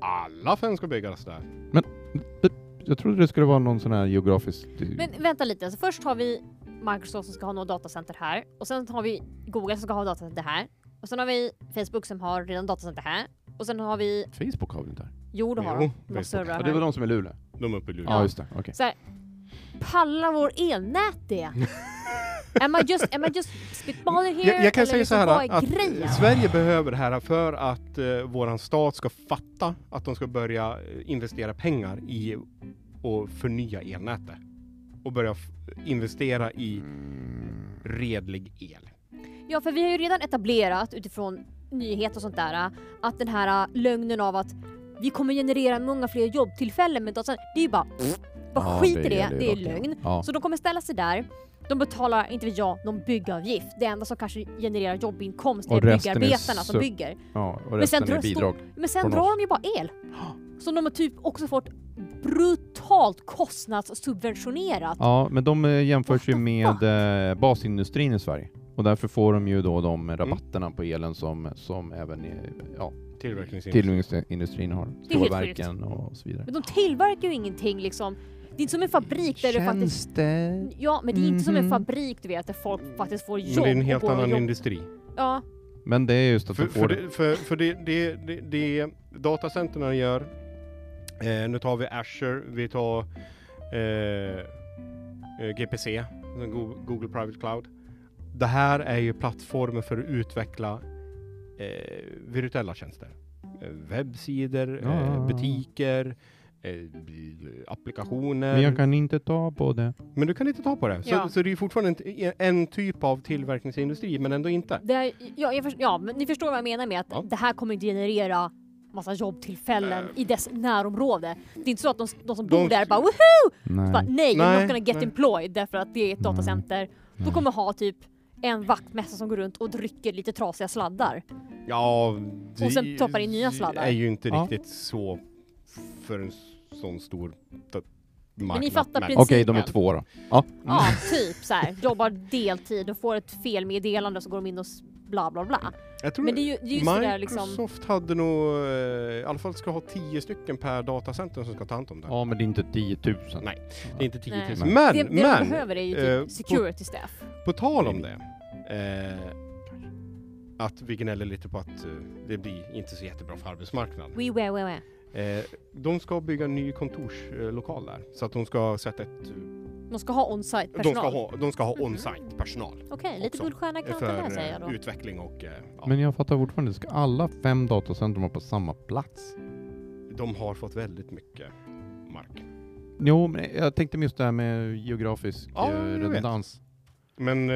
A: Alla fem ska byggas där.
B: Jag trodde det skulle vara någon sån här geografisk... typ-
C: Men vänta lite, så först har vi Microsoft som ska ha något datacenter här. Och sen har vi Google som ska ha datacenter här. Och sen har vi Facebook som har redan datacenter här. Och sen har vi...
B: Facebook har vi inte här.
C: Jo, det har
A: Jo,
C: de. de. har
A: Facebook.
C: servrar
B: Ja,
C: här.
B: det var de som är Luleå.
A: De är uppe i Luleå.
B: Ja, just det. Okej.
C: Så här, pallar vår elnät det? am, I just, am I just spitballing here?
A: Jag, jag kan säga
C: Eller
A: så
C: liksom,
A: här
C: vad är
A: att eh,
C: grejen?
A: Sverige behöver det här för att eh, våran stat ska fatta att de ska börja eh, investera pengar i och förnya elnätet. Och börja f- investera i
B: Mm.
A: redlig el.
C: Ja, för vi har ju redan etablerat utifrån nyheter och sånt där att den här äh, lögnen av att vi kommer generera många fler jobbtillfällen med datan. Det är ju bara, pff, bara
B: Ja,
C: skit i det,
B: gäller ju
C: det är
B: rakt igenom.
C: lögn.
B: Ja.
C: Så de kommer ställa sig där. De betalar, inte vet jag, någon byggavgift. Det enda som kanske genererar jobbinkomst är
B: Och resten är
C: byggarbetarna som
B: sub-
C: bygger.
B: Ja, och
C: Men sen
B: resten är
C: drar-
B: bidrag.
C: Men sen
B: Från
C: drar
B: oss.
C: de ju bara el. Som de har typ också fått brutalt kostnadssubventionerat.
D: Ja, men de eh, jämförs ju
C: What the
D: med eh, basindustrin i Sverige och därför får de ju då
B: Mm.
D: de rabatterna på elen som, som även eh, ja,
A: Tillverkningsindustri.
B: Tillverkningsindustrin har.
C: Det är helt
B: Stålverken och så vidare.
C: Men de tillverkar ju ingenting liksom. Det är inte som en fabrik där det faktiskt...
B: Tjänster.
C: Ja, men det är inte som en
B: Mhm.
C: fabrik du vet, där folk faktiskt får
A: Men
C: jobb.
A: det är en
C: och
A: helt
C: går och
A: annan
C: jobb-
A: industri.
C: Ja,
B: Men det är just att
A: För,
B: de
A: för,
B: får
A: det,
B: det.
A: för, för det, det, det, det datacenterna gör, eh, nu tar vi Azure, vi tar eh, eh, GPC, alltså Go- Google Private Cloud. Det här är ju plattformen för att utveckla eh, virtuella tjänster. Eh, webbsidor,
D: Ja, ja,
A: eh,
D: ja.
A: butiker, eh, bi- applikationer.
D: Men jag kan inte ta på det.
A: Men du kan inte ta på det.
C: Ja.
A: Så, så det är ju fortfarande en, en typ av tillverkningsindustri, men ändå inte.
C: det är, ja, jag förstår, ja, men ni förstår vad jag menar med att
A: Ja. Eh.
C: det här kommer inte generera massa jobbtillfällen i dess närområde. Det är inte så att de, de som
A: De-
C: bor där bara woho! Bara,
B: Nej.
C: nej, you're
A: Nej,
C: not gonna get
A: nej. Mm.
C: employed därför att det är ett datacenter. Då kommer ha typ en vaktmästare som går runt och rycker lite trasiga sladdar.
A: Ja, det
C: Och sen toppar in nya sladdar.
A: är ju inte
D: Ja.
A: riktigt så för en sån stor t- marknad.
C: Men ni fattar
B: Okej,
C: principen.
B: de är två då.
A: Mm.
C: Ja, typ så här. jobbar deltid och får ett felmeddelande och så går de in och s- bla bla bla.
A: Jag tror
C: Men det är ju, det är ju sådär liksom...
A: Microsoft hade nog, eh, i alla fall ska ha tio stycken per datacenter som ska ta hand om det.
D: Ja, men det är inte 10 000.
A: Nej. Det är inte tio
C: Nej.
A: tusen.
D: Nej.
A: Men,
C: Det, det de
A: men,
C: behöver är ju
A: eh, på-
C: typ security staff.
A: på tal om det. Eh, att vi gnäller lite på att eh, det blir inte så jättebra för arbetsmarknaden.
C: We we we we.
A: Eh, de ska bygga en ny kontorslokal där. Så att de ska sätta ett...
C: De ska ha on-site
A: De ska
C: personal.
A: ha, de ska ha
C: Mhm.
A: on-site personal.
C: Okej, lite
A: också.
C: guldstjärna i kanten där
A: för
C: säger jag
A: eh,
C: då.
A: utveckling och eh, ja,
D: Men jag fattar fortfarande, ska alla fem datacenter vara på samma plats?
A: de har fått väldigt mycket mark.
D: Jo, men jag tänkte just det här med geografisk
A: Ja,
D: eh,
A: jag vet.
D: redundans.
A: Men eh,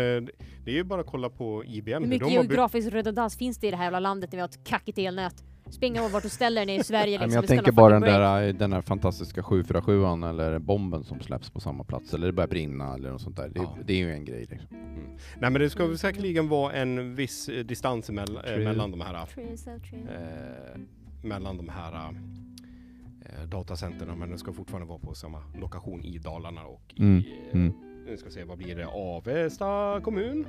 A: det är ju bara att kolla på IBM.
C: Hur
A: hur
C: mycket
A: de har byggt-
C: geografisk redundans finns det i det här jävla landet när vi har ett kackigt elnät? Springa över vart du ställer dig i Sverige
D: Nej,
C: liksom.
D: men jag
C: vi ska
D: tänker
C: ha
D: bara den
C: fucking break.
D: där, eh, den där fantastiska 747 eller bomben som släpps på samma plats, eller det börjar brinna eller något sånt där. Det,
A: Ja.
D: det är ju en grej. Liksom.
A: Nej men det ska väl säkerligen vara en viss eh, distans emell- eh,
D: True.
A: mellan de här,
C: True, so true.
A: eh, mellan de här eh, datacenterna men det ska fortfarande vara på samma lokation i Dalarna och i,
D: Mm,
A: eh,
D: mm.
A: nu ska vi se vad blir det, Avesta kommun?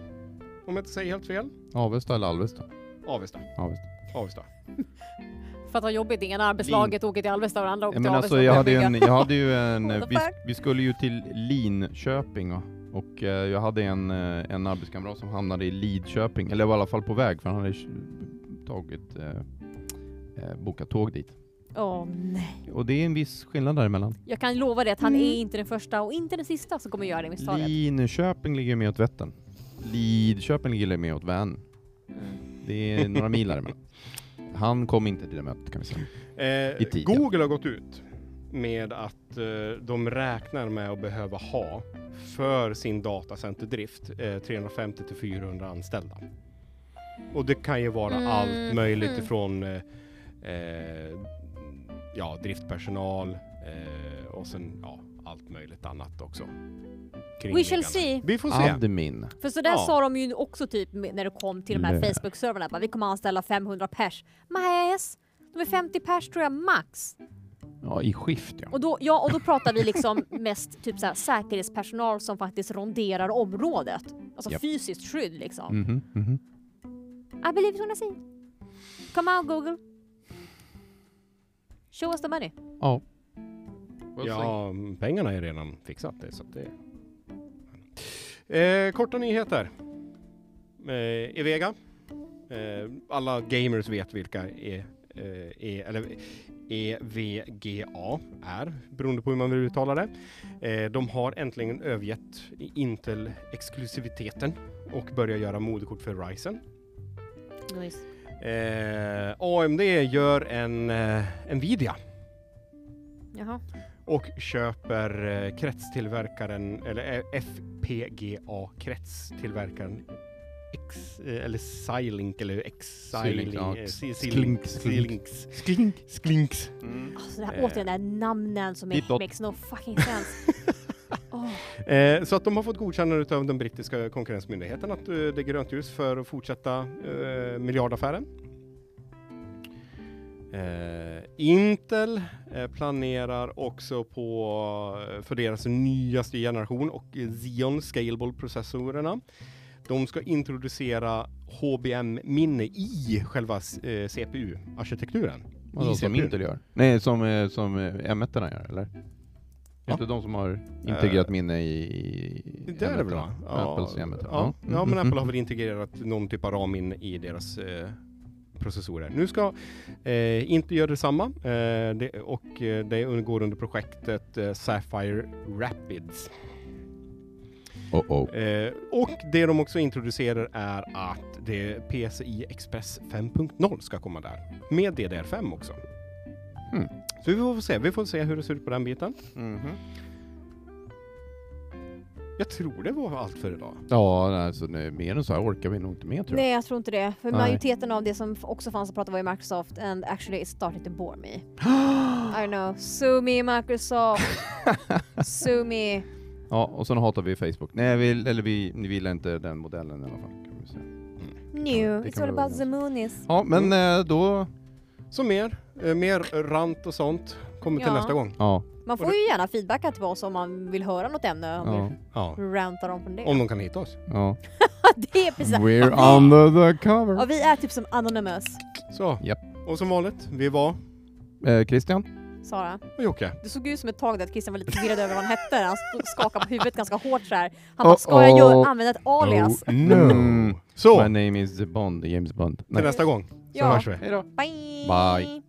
A: Om jag inte säger helt fel.
D: Avesta eller Alvesta?
A: Avesta.
D: Avesta.
A: Avesta.
C: För att ha jobbigt, det ena arbetslaget
D: Mm.
C: åker till Alvesta och
D: alltså,
B: alltså, eh, Och
C: det
B: eh, jag hade en, eh, en arbetskamrat som hamnade i Lidköping, eller var i alla fall på väg för han hade tagit, eh, eh, bokat tåg dit.
C: Åh nej.
B: Och det är en viss skillnad däremellan.
C: Jag kan lova dig att han
E: Mm.
C: är inte den första och inte den sista som kommer göra det misstaget.
B: Linköping ligger mer åt Vättern. Lidköping ligger mer åt Vänern. Det är några mil däremellan. Han kom inte till det mötet kan vi säga.
A: Eh,
B: I tid, ja.
A: Google har gått ut med att eh, de räknar med att behöva ha för sin datacenterdrift eh, 350 till 400 anställda. Och det kan ju vara
C: Mm,
A: allt möjligt
C: mm.
A: ifrån eh, eh, ja, driftpersonal eh, och sen ja, allt möjligt annat också.
C: We
A: Kringliggande.
C: shall see.
A: Vi får se.
B: Admin.
C: För så där
A: Ja.
C: sa de ju också typ med- när det kom till de här
B: Lä.
C: Facebook-servrarna. bara, Vi kommer anställa 500 pers. Mahes, de är 50 pers tror jag max.
B: Ja, i skift ja.
C: Och då, ja, och då pratar vi liksom mest typ så här, säkerhetspersonal som faktiskt ronderar området. Alltså
B: Japp. Mm.
C: fysiskt skydd liksom.
B: Mhm, mhm.
C: I believe it's gonna see. Come on Google. Show us the money.
B: Ja.
A: Ja, pengarna är redan fixat. Det, så att det... Eh, korta nyheter. Eh, Evega. Eh, alla gamers vet vilka e, eh, e, eller E EVGA är, beroende på hur man vill uttala det. Eh, de har äntligen övergett Intel-exklusiviteten och börjar göra moderkort för Ryzen.
C: Nice.
A: Eh, AMD gör en eh, Nvidia
C: Jaha.
A: och köper eh, kretstillverkaren eller eh, FPGA kretstillverkaren X, eh, eller Xilinx eller
B: Xilinx, ja.
A: Xilinx Xilinx
B: Sklinks, sklinks.
A: Skilinx Sklinks
B: Mm.
C: Alltså det här,
A: Eh.
C: återigen det här namnen som
B: Deep dot.
C: är, makes no fucking sense. Åh.
A: Eh, så att de har fått godkännande av den brittiska konkurrensmyndigheten att eh, det är grönt ljus för att fortsätta eh, miljardaffären. Eh, Intel eh, planerar också på eh, för deras nyaste generation och eh, Xeon Scalable-processorerna. De ska introducera HBM-minne i själva eh, CPU-arkitekturen.
B: Vadå,
A: I
B: som
A: CPU?
B: Intel gör? Nej, som, eh, som eh, m 1 gör eller?
A: Ja.
B: Är inte de som har integrerat
A: Eh,
B: minne i, i
A: Det är det väl?
B: M1:orna?
A: va? Ja,
B: Apples Mm. m 1
A: ja. ja, men Apple har väl integrerat någon typ av ram in i deras eh, processorer. Nu ska eh, inte göra detsamma eh, det, och eh, det går under projektet eh, Sapphire Rapids.
B: Oh, oh.
A: Eh, och det de också introducerar är att det PCI Express 5.0 ska komma där med DDR5 också.
B: Hmm.
A: Så vi får se. Vi får se hur det ser ut på den biten. Mhm. Jag tror det var allt för idag.
B: Ja, alltså, nu, mer än så här orkar vi nog inte med tror jag.
C: Nej, jag tror inte det. För
B: Nej.
C: majoriteten av det som f- också fanns att prata var ju Microsoft and actually it's starting to bore me. I know. Sue me Microsoft. Sue me.
B: Ja, och sen hatar vi Facebook. Nej, vi, eller vi, vi gillar inte den modellen i alla fall. Kan vi säga.
C: New.
B: det
C: It's
B: kan
C: all
B: vi
C: about the moonies.
B: Ja, men eh, då...
A: Så mer, eh, mer rant och sånt kommer till
C: Ja.
A: nästa gång.
B: Ja,
C: Man
A: Och
C: får ju gärna feedbacka till oss om man vill höra något ämne. Om
B: ja,
A: Ja.
C: vi rantar om på
B: Mm.
C: det.
A: Om de kan hitta oss.
B: ja.
C: det är precis.
B: We're under the cover.
C: Ja, vi är typ som Anonymous.
A: Så.
B: Japp.
A: Och som vanligt, vi var
B: Eh, Christian?
C: Sara.
A: och Jocke.
C: Det såg ut som ett tag där att Christian var lite förvirrad över vad han hette. Han stod och skakade på huvudet ganska hårt så här. Han bara, ska jag
B: Uh-oh.
C: göra, använda ett alias?
A: no.
B: Mm.
A: Så,
B: My name is Bond, James Bond.
A: till
B: Nej.
A: nästa gång. Så
C: Ja.
A: hörs vi.
B: Hej då.
C: Bye!
B: Bye.